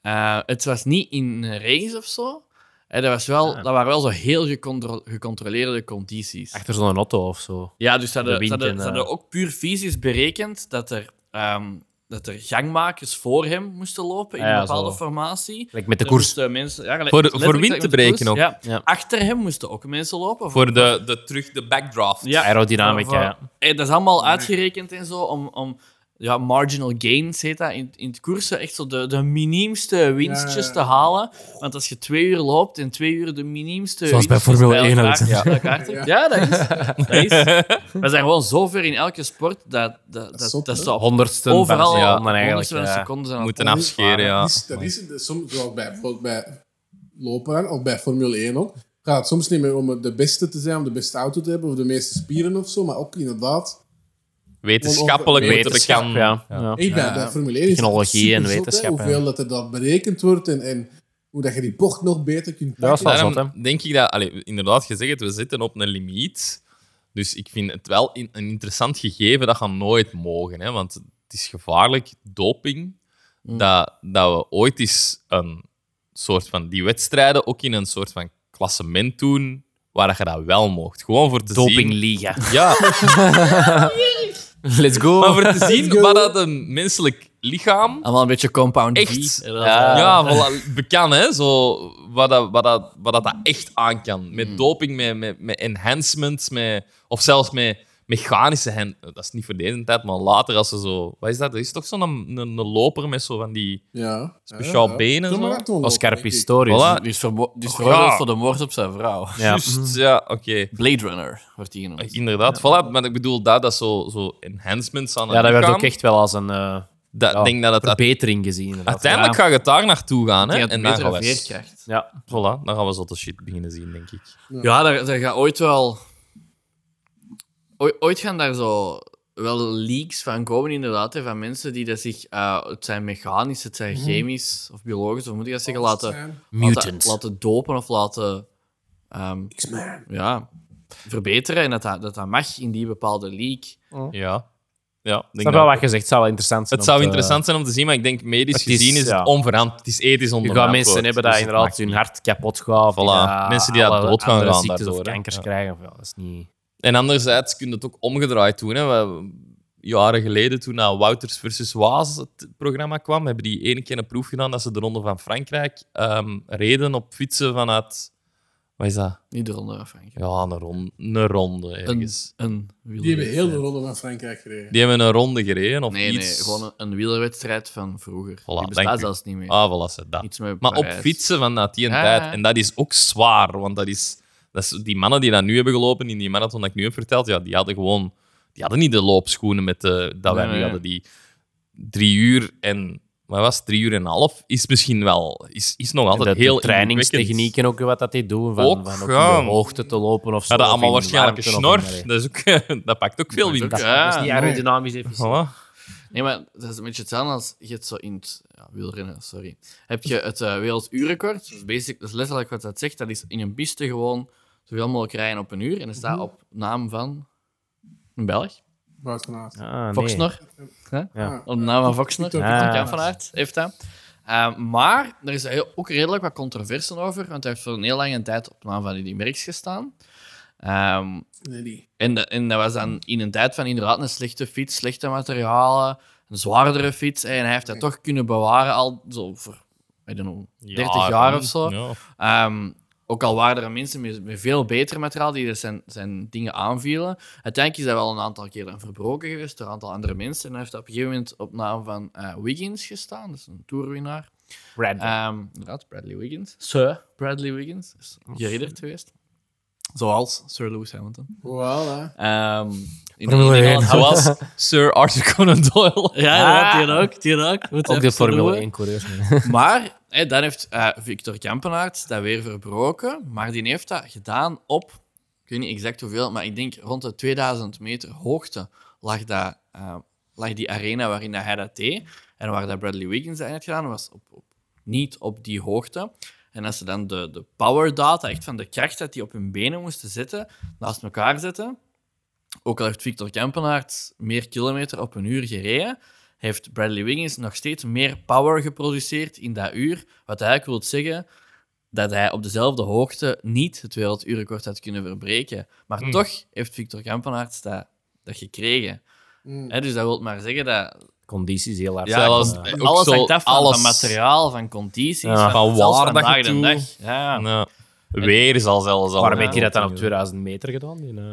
eh, het was niet in een race of zo. Hè, dat, was wel, dat waren wel zo heel gecontro- gecontroleerde condities. Achter zo'n auto of zo. Ja, dus ze hadden, De wind ze hadden, en, ze hadden eh, ook puur fysisch berekend dat er, ehm, dat er gangmakers voor hem moesten lopen in Ah Ja, een bepaalde zo. formatie. Like met de Er koers. moesten mensen, ja, dus, gelijk- Voor- letterlijk voor wind met te de koers, breken ook. Ja. Ja. Achter hem moesten ook mensen lopen. Voor de, de terug, de backdraft. ja, Aerodynamica, voor- ja. Eh, dat is allemaal uitgerekend en zo om, om ja, marginal gains heet dat, in, in het koersen echt zo de, de miniemste winstjes ja, ja. te halen. Want als je twee uur loopt en twee uur de miniemste Zoals bij winstjes Formule 1 elkaar- altijd. Ja, bij elkaar trekt. ja, dat is. Dat is. We zijn gewoon zo ver in elke sport dat dat, is dat, zot, dat hè? zo Honderdste overal ja, ja, dan eigenlijk. van een ja. seconde zijn aan Moeten het afscheren, ja. Dat is, dat is dus soms, zoals bij, bijvoorbeeld bij lopen dan, of bij Formule 1 ook, gaat het soms niet meer om de beste te zijn, om de beste auto te hebben, of de meeste spieren of zo, maar ook inderdaad... Wetenschappelijk moeten we Wetenschap, kan. ja. ja. Hey, bij, bij Formule 1 is het Technologie en superzot, hè, wetenschap, hè. Hoeveel dat er dan berekend wordt en, en hoe dat je die bocht nog beter kunt Dat was wel zot, hè? Daarom denk ik dat, allee, inderdaad, je zegt het, we zitten op een limiet. Dus ik vind het wel in- een interessant gegeven dat gaan nooit mogen. Hè, want het is gevaarlijk, doping, Mm. dat, dat we ooit eens een soort van die wedstrijden ook in een soort van klassement doen waar dat je dat wel mocht. Gewoon voor te zien. Dopingliga. Ja, Let's go. maar voor te zien wat dat een menselijk lichaam Allemaal een beetje compound Echt? V. Dat, Ja, eh, voilà, bekend, hè? Zo, wat, dat, wat, dat, wat dat dat echt aan kan. Met doping, met, met, met enhancements, met, of zelfs met mechanische hen. Dat is niet voor deze tijd, maar later als ze zo. Wat is dat? Er is toch zo'n een, een loper met zo van die Ja. speciaal Ja, ja. benen. Zo'n Zo. marathonloper, Oscar denk ik. Pistorius. Voilà. Die is, verbo- die is Oh, veroordeeld ja. voor de moord op zijn vrouw. Ja. Juist, ja, oké. Blade Runner wordt die genoemd. Inderdaad, voilà. Maar ik bedoel, dat, dat is zo, zo enhancements aan het Ja, dat werd lichaam. ook echt wel als een eh, Dat, ja, denk dat het uite- verbetering gezien. inderdaad. uiteindelijk Ja. ga je daar naartoe gaan. Hè? Die had En dan betere gaan, we, veerkracht. Ja. voilà, dan gaan we zo de shit beginnen zien, denk ik. Ja, daar, daar gaat ooit wel. Ooi- Ooit gaan daar zo wel leaks van komen, inderdaad. Hè, van mensen die dat zich. eh, het zijn mechanisch, het Mhm. zijn chemisch of biologisch, of moet ik dat zeggen? Laten, Zijn. Mutants. laten, laten dopen of laten. ehm, ja, verbeteren. En dat dat, dat dat mag in die bepaalde leak. Ja. Ja, denk Ik snap dat- wel wat je zegt. Het zou wel interessant zijn. Het om zou eh, te- interessant zijn om te zien, maar ik denk medisch Het is, gezien is het ja. onverantwoord. Het is ethisch Je onverantwoord. gaat mensen hebben Dus dat het inderdaad maakt hun niet. hart kapot gaat. Voilà. Mensen die daar dood gaan gaan ziektes daardoor, of hè. kankers Ja. krijgen. Of, ja, dat is niet... En anderzijds kun je het ook omgedraaid doen. Hè. We- jaren geleden, toen dat Wouters versus Waas het programma kwam, hebben die ene keer een proef gedaan dat ze de Ronde van Frankrijk ehm, reden op fietsen vanuit... Wat is dat? Niet eronder, Frank. Ja, een ronde. Een ronde Een, ergens. een wielerwedstrijd. Die hebben heel de ronde van Frankrijk gereden. Die hebben een ronde gereden of Nee, iets. nee, gewoon een, een wielerwedstrijd van vroeger. die dank bestaat u. zelfs niet meer. Ah, voilà, ze dat. Iets met Maar op Parijs. fietsen van dat die en Ja, ja. tijd. En dat is ook zwaar, want dat is, dat is... Die mannen die dat nu hebben gelopen, in die marathon dat ik nu heb verteld, ja, die hadden gewoon... Die hadden niet de loopschoenen met de, dat wij Nee, nu nee. hadden. Die drie uur en... Wat was het? Drie uur en een half is misschien wel... Is, is nog En altijd de, heel de trainingstechnieken ook wat dat die doen. Van, Ook, van ook ja. in de hoogte te lopen of zo. Ja, dat of allemaal in waarschijnlijk een warmte of snor. in- Dat, is ook, dat pakt ook veel Dat is wind. ook- af. ja, Dat is niet mooi. aerodynamisch efficiënt. Voilà. Nee, maar dat is een beetje hetzelfde als je het zo in het ja, wielrennen, sorry. Heb je het eh, werelduurrecord, dus basic, dat is letterlijk wat dat zegt, dat is in een piste gewoon zoveel mogelijk rijden op een uur. En dat staat op naam van een Belg, Wout van Aert. Ah, nee. Voxnor. Hè? Ja. Op naam van Voxnor, Victor Victor Victor Jan van Aert heeft dat. Eh, maar er is heel- ook redelijk wat controversen over, want hij heeft voor een heel lange tijd op naam van die merks gestaan. Ehm, Nee, die. en, dat- en dat was dan in een tijd van inderdaad een slechte fiets, slechte materialen, een zwaardere fiets. En hij heeft dat toch kunnen bewaren al zo voor, I don't know, 30 jaar of zo. Ja. Ehm, ook al waren er mensen met, met veel beter materiaal die er zijn, zijn dingen aanvielen. Uiteindelijk is dat wel een aantal keer dan verbroken geweest door een aantal andere mensen. En hij heeft op een gegeven moment op naam van eh, Wiggins gestaan, dat is een toerwinnaar. Brad. Eh, Ehm, inderdaad, Bradley Wiggins. Sir Bradley Wiggins is geridderd geweest. Zoals Sir Lewis Hamilton. Voilà. Ehm, in Formule in- in- één. Zoals Sir Arthur Conan Doyle. Ja, Ah. inderdaad, die ook. Die ook. Moet Ook even de Formule doen. 1 coureurs. Maar hè, dan heeft eh, Victor Kampenaerts dat weer verbroken. Maar die heeft dat gedaan op, ik weet niet exact hoeveel, maar ik denk rond de 2000 meter hoogte lag, dat, eh, lag die arena waarin dat hij dat deed. En waar dat Bradley Wiggins dat in had gedaan, was op, op, niet op die hoogte. En als ze dan de, de power data, echt van de kracht dat die op hun benen moesten zetten, naast elkaar zetten. Ook al heeft Victor Kampenaerts meer kilometer op een uur gereden, heeft Bradley Wiggins nog steeds meer power geproduceerd in dat uur. Wat eigenlijk wil zeggen dat hij op dezelfde hoogte niet het werelduurrecord had kunnen verbreken. Maar Hmm. toch heeft Victor Kampenaerts dat, dat gekregen. Mm. Hè, dus dat wil maar zeggen dat Condities heel hard. Ja, zelfs- Eh, Ook alles zo, hangt af van, alles- van materiaal, van condities, Ja, van, van zelfs waar van dat je dag en toe- dag. Ja. Ja. Weer zal zelfs al. Waarom heeft Ja, hij dat dan op 2000 meter gedaan? In, eh,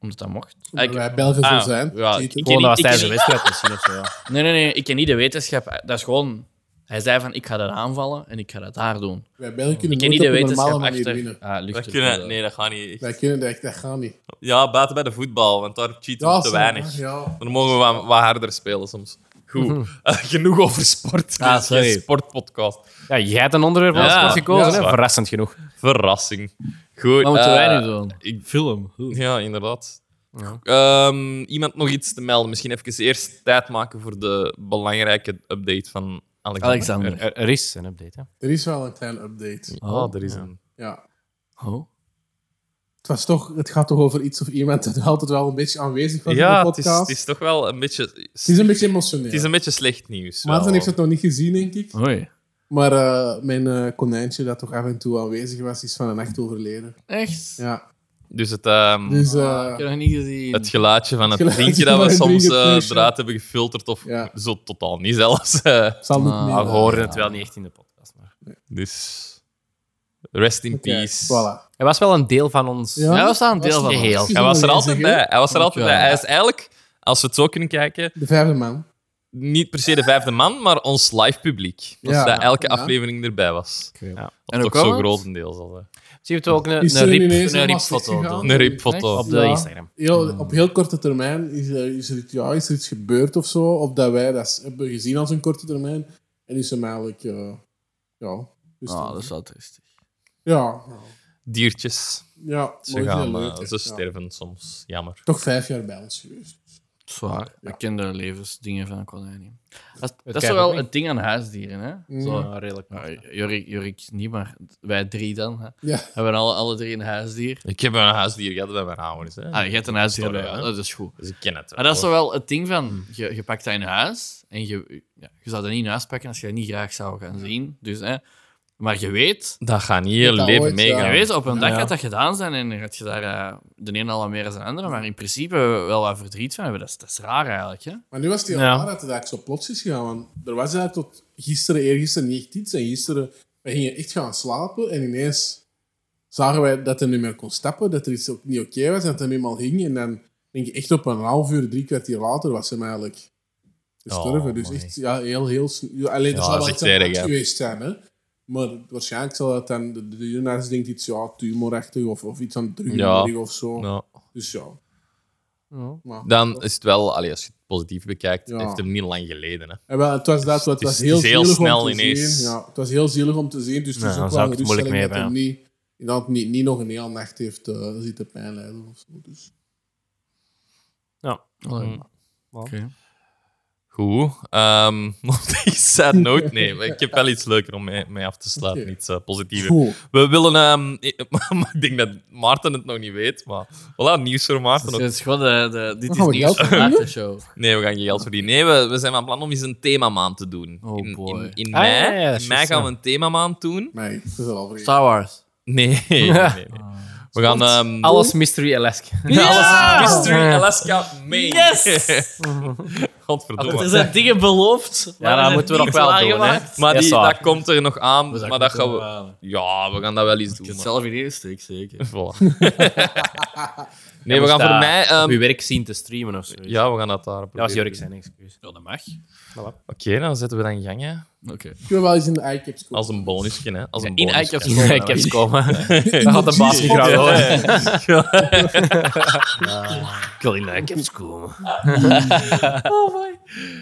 Omdat dat mocht. Ah, Omdat ik- wij Belgen ah, zo zijn. ja, Cheater. ik ken Gewoon dat was ik tijdens de ken wedstrijd misschien of zo. ja. Nee, nee, nee. Ik ken niet de wetenschap. Dat is gewoon... Hij zei van, ik ga dat aanvallen en ik ga dat daar doen. wij Belgen Ik kunnen ken nooit niet op de een normale wetenschap manier achter winnen. ah, Dat lucht. kunnen, nee, dat gaat niet. Wij kunnen dat echt, dat gaat niet. Ja, buiten bij de voetbal, want daar cheaten we te zo, weinig. Ja. Mhm. Dan mogen we wat, wat harder spelen soms. Goed, Eh, genoeg over sport. Ah, Dit is geen sorry. sportpodcast. Ja, jij hebt een onderwerp van Ja, sport ja, gekozen, dat is hè? waar. verrassend genoeg. Verrassing. Goed. Wat moeten wij eh, nu doen? ik- film. Ja, inderdaad. Ehm, iemand nog iets te melden? Misschien even eerst tijd maken voor de belangrijke update van Alexander. Alexander. Er, er is een update, hè. Er is wel een klein update. Oh, er is een. Ja. Oh. Het, was toch, het gaat toch over iets of iemand dat altijd wel een beetje aanwezig was Ja, in de het is, podcast. het is toch wel een beetje. Het is een beetje emotioneel. Het is een beetje slecht nieuws. Maarten wel. heeft het nog niet gezien, denk ik. Hoi. Maar eh, mijn eh, konijntje dat toch af en toe aanwezig was, is van een nacht overleden. Echt? Ja. Dus het, ehm, Dus eh, Ah, ik heb nog niet gezien. het geluidje van het Het geluidje vriendje dat van we het soms drinken, eh, precies, ja. eruit hebben gefilterd, of Ja. zo totaal niet zelfs. eh. het zal niet Ah, meer. We hoorden het wel niet echt in de podcast. Maar... dus rest in Oké, peace. Voilà. Hij was wel een deel van ons. Ja. Ja, we staan een deel van ons. Geheel. Hij was er altijd bij. Hij was er altijd Dankjewel. bij. Hij is eigenlijk, als we het zo kunnen kijken, De vijfde man. niet per se de vijfde man, maar ons live publiek. Dus Ja. dat elke Ja. aflevering erbij was. En ook Toch zo'n al? grotendeels al. hè. Zien we het ook een, Is een er rip, ineens een helemaal ripfoto Oh, slecht doen? Een ripfoto. Op de Ja. Instagram. Heel, Ah. Op heel korte termijn is er, is, er, iets- ja, is er iets gebeurd of zo, of dat wij dat hebben gezien als een korte termijn. En is hem eigenlijk, eh, ja... Dus Ah, dat is wel triestig. Ja, Diertjes. ja Ze, maar is heel gaan, leuk, eh, hè. ze Ja. sterven soms. Jammer. Toch vijf jaar bij ons geweest. Zwaar. Ik ken de levensdingen van een konijn niet. Dat, dat krijg is ik wel niet. het ding aan huisdieren, hè? Zo. Ja, redelijk. Nou, Jorik, Jorik niet, maar wij drie dan. Hè? Ja. Hebben alle, alle drie een huisdier. Ik heb een huisdier gehad bij mijn ouders. Hè. Ah, je hebt een huisdier, Sorry, bij- hè. dat is goed. Dus ik ken het wel. Maar dat is zo wel het ding van, je, je pakt dat in huis en je, ja, je zou dat niet in huis pakken als je dat niet graag zou gaan zien. Dus, hè, maar je weet, Dat gaat niet heel Dat leven ooit, meegaan. ja. je weet, op een dag Ja. gaat dat gedaan zijn en dan gaat je daar eh, de ene al wat meer dan de andere, maar in principe wel wat verdriet van hebben. Dat is, dat is raar eigenlijk. Hè? Maar nu was het heel Ja. raar dat het eigenlijk zo plots is gegaan. Want er was eigenlijk tot gisteren, eergisteren niet echt iets. En gisteren, wij gingen echt gaan slapen. En ineens zagen wij dat hij niet meer kon stappen. Dat er iets ook niet oké was. En dat hij eenmaal ging. En dan denk ik echt op een half uur, drie kwartier later was hem eigenlijk gestorven. Oh, dus mooi. echt ja, heel, heel... sn- ja, Alleen, er Ja, zal dat wel is iets echt aan de erg, hand hè. geweest zijn, hè. Maar waarschijnlijk zal dat dan... De, de, de jonarts denkt iets, ja, tumorachtig of, of iets aan het druggevoelig of zo. Nou, Dus ja. Maar- dan is het wel, allee, als je het positief bekijkt, Ja. heeft hem niet lang geleden. Hè. Ja, wel, het was dat, Het het is- was het is heel, heel zielig snel om te ineens. zien. Ja, het was heel zielig om te zien, dus het Ja, is dan ook zou wel ik een het moeilijk geruststelling mee dat hij hebben, niet, inderdaad niet, niet nog een hele nacht heeft eh zitten pijnlijden of zo. Dus. Ja. Mm. Oké. Goed. ehm, Nog deze sad note? Nee, maar ik heb wel iets leuker om mee, mee af te sluiten. Oké. Iets eh, positiever. Goed. We willen... ehm, maar ik denk dat Maarten het nog niet weet, maar... Voilà, nieuws voor Maarten. Dus het is gewoon de, de, dit is gaan we nieuws geld van de show. Nee, we gaan geen geld verdienen. Nee, we, we zijn van plan om eens een themamaand te doen. Oh, in, in- boy. in Ah, mei, ja, ja, ja, in mei juist, gaan ja. we een themamaand doen. Nee, dat is wel al vergeten. Star Wars. Nee, nee, nee. nee. We gaan... ehm, Alles Mystery Alaska. Alles Mystery Ja. Alaska mee. Yes! Godverdomme. Er zijn dingen beloofd, maar Ja, er dat zijn moeten we nog niet wel doen, hè. waargemaakt. Maar Ja, die, zwaar. dat komt er nog aan. maar dat gaan we... Ik Ja, we gaan dat wel eens heb doen. man. het zelf in insteek, zeker. Voilà. nee, we gaan voor mij... ehm, dus Op uw werk zien te streamen of zo. dat ja, we gaan dat daar proberen. was Jurk zijn excuus. Ja, dat mag. Oké, dan zetten we dat in gang, hè. Oké. Ik wil wel eens in de iCaps komen. Als een bonusje, hè. Als een in bonusje. iCaps. Ja, ik heb ze komen. Dat had de baas niet Ja, graag ja, horen. ja. Ik wil in de ik heb ze komen. Oh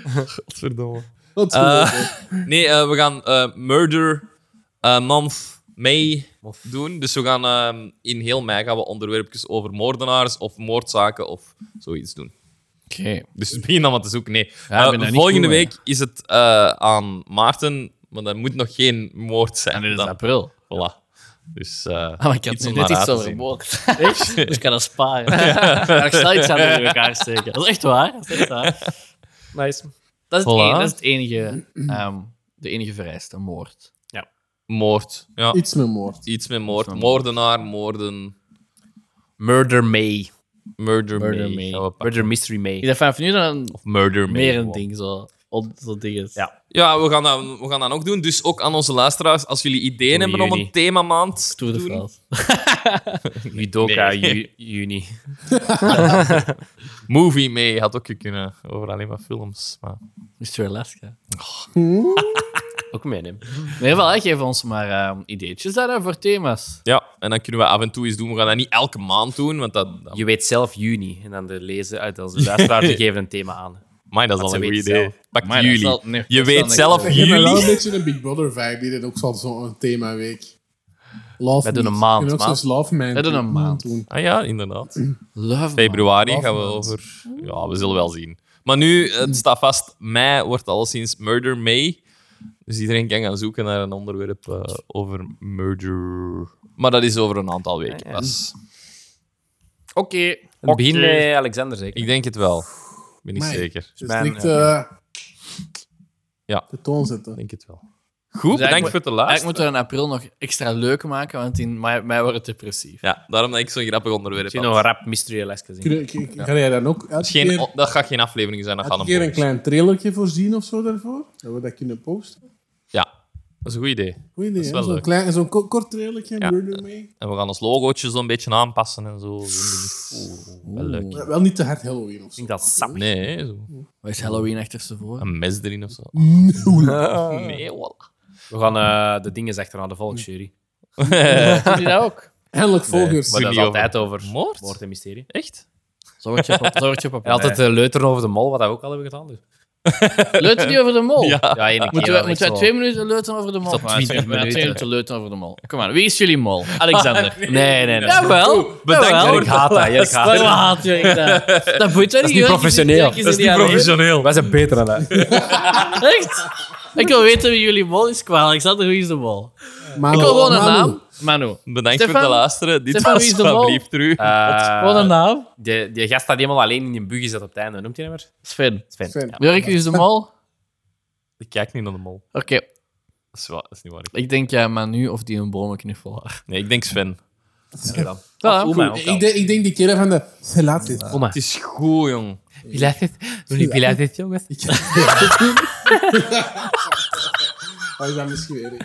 Godverdomme. Dat is Eh, goed, hè. nee, eh, we gaan eh, Murder eh, Month May doen. Dus we gaan ehm, in heel mei gaan we onderwerpjes over moordenaars of moordzaken of zoiets doen. Dus begin dan wat te zoeken. Nee. Ja, ik ben Eh, daar niet volgende goed mee. week is het eh, aan Maarten, maar dat moet nog geen moord zijn. En dit is dan. april. Voilà. Dus eh Ah, maar ik had iets nu om net iets naar uit te over zien. gemoord. Echt? Dus ik kan dat sparen. Maar ik zal iets aan in elkaar steken. Dat is echt waar. Dat is, echt waar. Nice. Dat is, het, Voilà. enige, dat is het enige, ehm, de enige vereiste, moord. Moord. Ja, Iets met moord. iets met moord. Iets met Moordenaar, moorden, Murder May. murder, Murder May. May. Gaan we pakken. Murder Mystery Ik May. dacht vanaf nu dan Of murder May. meer een gewoon. ding zo. onze dingen. Ja. Ja, we gaan, dat, we gaan dat ook doen. Dus ook aan onze luisteraars, als jullie ideeën hebben om juni. een themamaand Tour te de doen, France. Judoka Nee. ju- juni. Movie mee had ook kunnen over alleen maar films. Maar... Mr. Alaska. Ook mijn hem. Nee, wel, hè, geef ons maar eh, ideetjes daar, hè, voor thema's. Ja, en dan kunnen we af en toe eens doen. We gaan dat niet elke maand doen, want dat, dat, Je weet zelf juni. En dan de lezen uit onze luisteraar, die geven een thema aan. Amai, dat is al ze een goed weten idee. zelf. Pak Amai, dat jullie. zal- nee, je dat weet zal zelf niks Ik heb wel een jullie. beetje een Big Brother vibe. Die deed ook zo'n- zo'n themaweek. Love Wij doen Meat. een maand, Ik heb ook maat. zo'n Love Man Wij doen een maand. doen. Ah ja, inderdaad. Love, Februari gaan we Love over. Ja, we zullen wel zien. Maar nu, het staat vast, mei wordt al sinds Murder May. Dus iedereen kan gaan zoeken naar een onderwerp eh, over murder. Maar dat is over een aantal weken pas. Oké. Het begin eh, met Alexander, zeker. Ik denk het wel. Ben ik Amai. zeker. Dus Mijn- strikt eh, Ja. de toon zetten. Ik denk het wel. Goed, Dus eigenlijk bedankt moet- voor het Ik luisteren. moet er in april nog extra leuk maken, want in mei, mei wordt het depressief. Ja, daarom dat ik zo'n grappig onderwerp Misschien nog een had. rap Mystery Alaska zien. Kun- kun- Kan jij dan ook Dat, elke is geen, keer, on- dat gaat geen aflevering zijn, dat gaat elke een keer een bonus. klein trailertje voorzien of zo daarvoor? Dat we dat kunnen posten? Ja, dat is een goed idee. Goed idee, is hè? wel Zo'n leuk. klein- zo'n ko- kort trailertje, Ja. Murder May. En we gaan ons logootje zo'n beetje aanpassen en zo. Zo'n ding. Wel leuk. Maar Wel niet te het Halloween of zo. Ik denk dat sap. Nee, hè, zo. Wat is Halloween achterstevoren? een mes erin of zo. Nee, voilà. We gaan eh, de dingen achteraan, de volksjury. Doe je dat ook? Eindelijk volgers. Maar Doen dat is die altijd over moord? moord en mysterie. Echt? Zo word je, pop- zo word je En populair. altijd de leuteren over de mol, wat we ook al hebben gedaan. Dus. Leuten die over de mol? Ja, één keer. Moeten wel, wij, echt moeten wij zo. twee minuten leuten over de mol? tot Maar 20 twee- maar minuten. Twee minuten leuten over de mol. Kom maar, wie is jullie mol? Alexander. Nee, nee, nee. Jawel. bedankt jawel. voor Jurk haat dat, Jurk haat dat. Waarom haat je ik dat? Dat boeit toch niet? niet professioneel. Dat is niet professioneel. Wij zijn beter dan dat. Echt? Ik wil weten wie jullie mol is qua Alexander, wie is de mol? Maar Ik wil gewoon een naam. Manu. Bedankt voor Stefan? het luisteren. Dit Stefan, wie was is de mol? alsjeblieft terug. Eh, Gewoon een naam. die, die gast dat helemaal alleen in een buggy zat op het einde. Noemt hij hem maar? Sven. Sven. Sven. Ja. Jurk, wie is de mol? Oké, Ik kijk niet naar de mol. Dat is, wa- dat is niet waar. ik denk ja, Manu of die een bomenknuffelaar. Nee, ik denk Sven. Ja, dan. Ja, Oema ook Ik al. denk, ik denk die keren van de... Oh, Ze laat dit. Oema. Het is goed, jong. Pilates. Doen die Pilates, jongens? Oh, is dat misschien weer ik.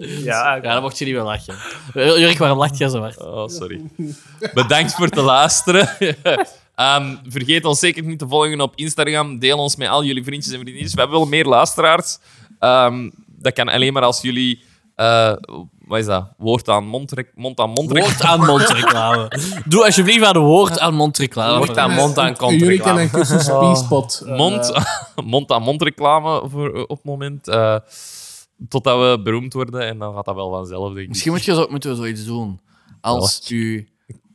Ja, Ja, dan mocht jullie wel lachen. Eh, Jurk, waarom lacht jij zo hard? Oh, sorry. Bedankt voor het luisteren. Ehm, vergeet ons zeker niet te volgen op Instagram. Deel ons met al jullie vriendjes en vriendinnetjes. We willen meer luisteraars. Ehm, dat kan alleen maar als jullie... eh, wat is dat? Woord aan mond, rec- mond aan mond. rec- Woord aan mondreclame. Doe alsjeblieft aan woord aan mondreclame. Woord aan mond aan kont Jullie kennen reclame. een kussen speespot. eh, mond, aan mond reclame voor, op het moment. eh, totdat we beroemd worden en dan gaat dat wel vanzelf, denk ik. Misschien moet je zo, moeten we zoiets doen. Als u...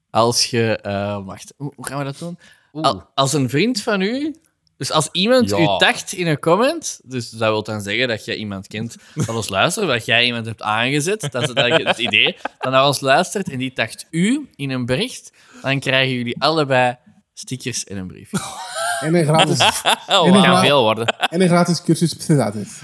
Als je... eh, wacht, hoe hoe gaan we dat doen? Al- als een vriend van u... Dus als iemand Ja. u tagt in een comment, dus dat wil dan zeggen dat jij iemand kent dat ons luistert, of dat jij iemand hebt aangezet, dat is het, eigenlijk het idee, dat naar ons luistert en die tagt u in een bericht, dan krijgen jullie allebei stickers en een brief. En een gratis, Oh, en een dat kan gra- veel worden. en een gratis cursus Pilates.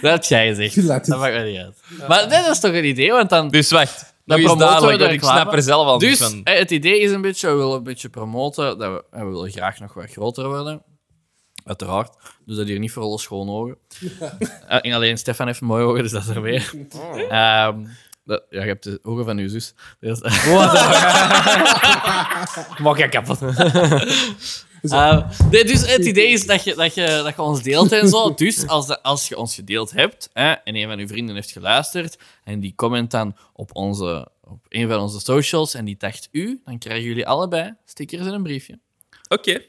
Dat had jij gezegd. Pilates. Dat maakt mij niet uit. Maar nee, dat is toch een idee, want dan... Dus wacht. Dan Dan is promoten we duidelijk, de want ik reclame. snap er zelf al Dus niet van. eh, het idee is een beetje, we willen een beetje promoten. Dat we, en we willen graag nog wat groter worden. Uiteraard. Dus dat hier niet voor alle schoon ogen. Eh, en alleen Stefan heeft mooie ogen, dus dat is er weer. Ehm, dat- ja, je hebt de ogen van uw zus. Dus, Mag jij kapot? Eh, nee, dus het idee is dat je, dat je, dat je ons deelt en zo. Dus als, dat- als je ons gedeeld hebt hè, en een van uw vrienden heeft geluisterd en die comment dan op, onze, op een van onze socials en die tagt u, dan krijgen jullie allebei stickers en een briefje. Oké,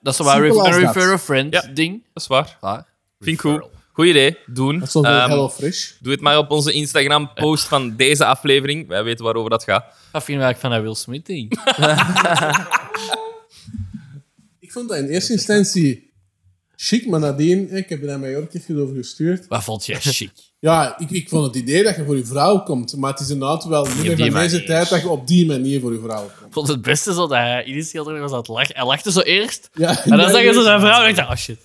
Dat is waar Simpel een als dat. refer a friend Ja. ding. dat is waar. Klaar. Vind ik goed. Goed idee. Doen. Dat is wel Ehm, Hello Fresh. doe het maar op onze Instagram-post van deze aflevering. Wij weten waarover dat gaat. Wat vinden we eigenlijk van dat Will Smith ding? Ik vond dat in eerste instantie chic, maar nadien, eh, ik heb er naar mijn Jorkje over gestuurd. Wat vond jij chic? Ja, ik, ik vond het idee dat je voor je vrouw komt, maar het is inderdaad wel niet meer die van deze manier. tijd dat je op die manier voor je vrouw komt. Ik vond het beste zo dat hij initieel toch nog eens aan het lachen. Hij lachte zo eerst. Ja, En dan zeggen ze zijn vrouw en ik dacht, oh shit.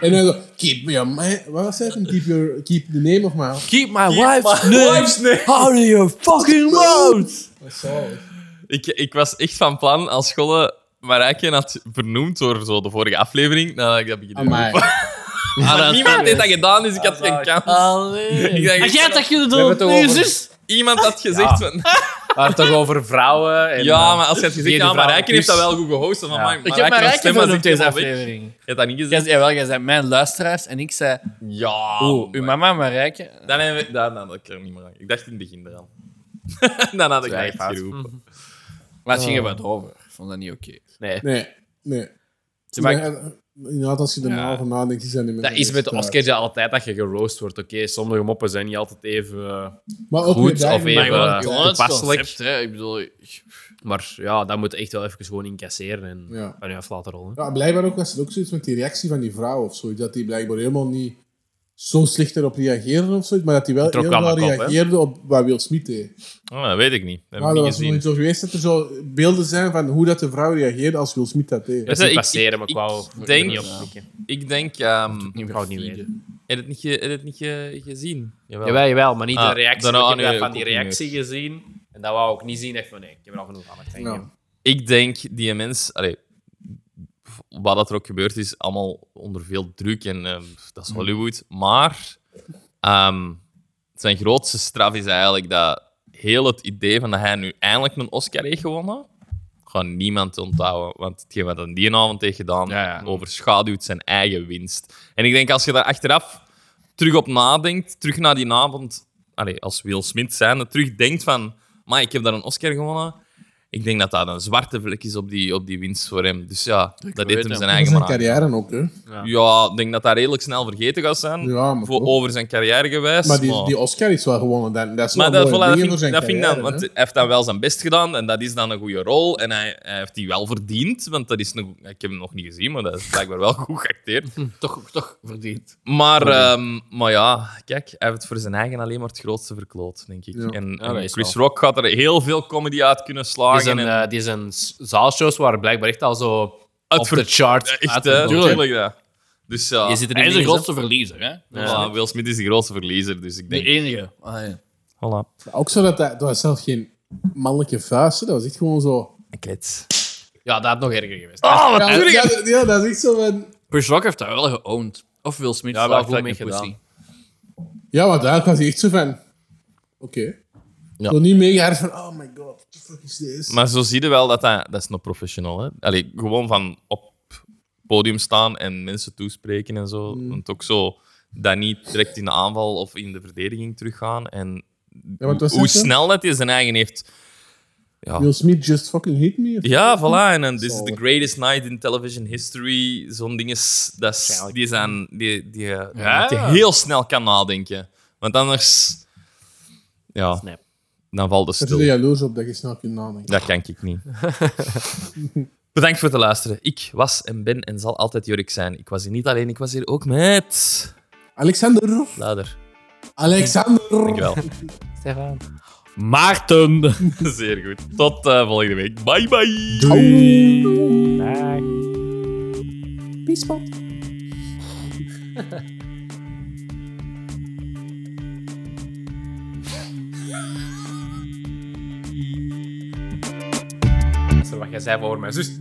En dan zo, keep your mind... Wat was het? Keep, your, keep the name of my... Keep my wife's name nee. out of your fucking mouth. Dat is zalig. Ik, ik was echt van plan als scholen Marijke had vernoemd door zo de vorige aflevering, nadat ik dat begon te Amai. roepen. Maar dat is niemand goed. heeft dat gedaan, dus ik had geen ah. kans. Ik dacht, Allee. ik- Jij hebt dat kunnen We hebben doen. het Nu toch je over- zus. Iemand had gezegd... Ja. van- Maar toch over vrouwen. En, eh, Ja, maar als je het gezegd Jede ja, maar vrouw Rijken heeft dat kus. wel goed gehost. Van, Ja. maar, Ik Ik heb mijn rijkje stem van zit deze helemaal weg. aflevering. Je hebt dat niet gezegd? Jij- Jawel, jij bent mijn luisteraars en ik zei... Ja. Oh, Oeh, uw maar- mama Marijke. Dan hebben we... Dan had ik er niet meer aan. Ik dacht in het begin eraan. dan had ik dat Zwaar echt fout. geroepen. Maar het ging er wat over. Ik vond dat niet oké. Nee. Nee, nee. Ze maken- Nee, Inderdaad, als je er nou over nadenkt, die zijn niet meer... Dat is met de echt, eh, Oscars ja altijd dat je geroost wordt. Oké, sommige moppen zijn niet altijd even. eh, maar ook goed weer daar- of even- Maar eh, gewoon, gewoon het toepasselijk. concept, hè. Ik bedoel... ik- Maar ja, dat moet je echt wel even gewoon incasseren en Ja. van je af laten rollen. Ja, blijkbaar ook was het ook zoiets met die reactie van die vrouw of zoiets. Dat die blijkbaar helemaal niet zo slecht erop reageerden of zoiets. Maar dat die wel trok heel wel wel een kop, hè? reageerde op wat Will Smith deed. Oh, dat weet ik niet. Dat heb Maar ik dat niet was gezien. nooit zo geweest dat er zo beelden zijn van hoe dat de vrouw reageerde als Will Smith dat deed. Dat je, is ik- passeren, ik- maar ik wou ik er denk- niet op klikken. Ik denk... ehm Ik wou het niet weten. heb je het niet, ge- heb je het niet ge- gezien? Jawel. Jawel, jawel, maar niet Ah, de reactie. daarna want Ik nu heb dat ook van die ook niet reactie gezien. En dat wou ik niet zien. Ik dacht van nee, ik heb er al genoeg aan. Ik denk, Ja. joh. Ik denk die mens... Allee, wat dat er ook gebeurd is, allemaal onder veel druk en ehm, dat is Mm. Hollywood. Maar ehm, zijn grootste straf is eigenlijk dat heel het idee van dat hij nu eindelijk een Oscar heeft gewonnen, gewoon niemand onthouden. Want hetgeen wat hij die avond heeft gedaan, Ja, ja. overschaduwt zijn eigen winst. En ik denk als je daar achteraf terug op nadenkt, terug naar die avond, allee, als Will Smith zijnde, terug denkt van, maar ik heb daar een Oscar gewonnen. Ik denk dat dat een zwarte vlek is op die, op die winst voor hem. Dus ja, dat weet heeft hem hem. zijn Dat is eigen zijn maar. carrière ook, hè. Ja, ik denk dat dat redelijk snel vergeten gaat zijn. Ja, maar voor, toch. over zijn carrière geweest. Maar die, die Oscar is wel gewonnen. Dat, dat is maar wel dat, een voilà, mooie dat, dingen vind, voor zijn dat vind ik dan, carrière, want hè. hij heeft dan wel zijn best gedaan en dat is dan een goede rol. En hij, hij heeft die wel verdiend, want dat is een, ik heb hem nog niet gezien, maar dat is blijkbaar wel goed geacteerd. Toch, toch verdiend. Maar, ehm, maar ja, kijk, hij heeft het voor zijn eigen alleen maar het grootste verkloot, denk ik. Ja. En, Ja, en dat is Chris wel. Rock gaat er heel veel comedy uit kunnen Die slagen. zijn, en, eh, die zijn s- zaalshows waren blijkbaar echt al zo Het op ver- de chart. echt, uit- hè, Tuurlijk. natuurlijk. ja. Dus ja, Je zit er Hij is niet de in, grootste verliezer, hè. voilà, Will Smith is de grootste verliezer, dus ik De denk... enige. Ah, ja. Voilà. Ook zo dat, dat, dat was zelf geen mannelijke vuisten. Dat was echt gewoon zo... Kets. Ja, dat had nog erger geweest. Oh, Ja, natuurlijk! ja, ja, dat is echt zo van... Chris Rock heeft dat wel geowned. Of Will Smith. Ja, wel slaagt goed like mee een gedaan. pussy. Ja, want daar was hij echt zo van... Oké. Zo niet meegehaald van... Oh my god, what the fuck is this? Maar zo zie je wel dat dat... Dat is nog professional, hè. Allee, gewoon van op podium staan en mensen toespreken en zo. Want ook zo dat niet direct in de aanval of in de verdediging teruggaan. En Ja, want het was hoe net zo, snel dat hij zijn eigen heeft... Will Smith just fucking hit me. of- Ja, voilà. En dan, this is Zalig. the greatest night in television history. Zo'n ding is... Dat is die zijn... Die, die, eh, dat je heel snel kan nadenken. Want anders... Ja, Snap. dan valt de Daar zit je stil. jaloers op dat je snel kunt nadenken. Dat kan ik niet. Bedankt voor het luisteren. Ik was en ben en zal altijd Jorik zijn. Ik was hier niet alleen, ik was hier ook met... Alexander! Later. Alexander! Dankjewel. Stefan. Maarten. Zeer goed. Tot eh, volgende week. Bye bye. Peace, man. Dat is wat jij zei over mijn zus.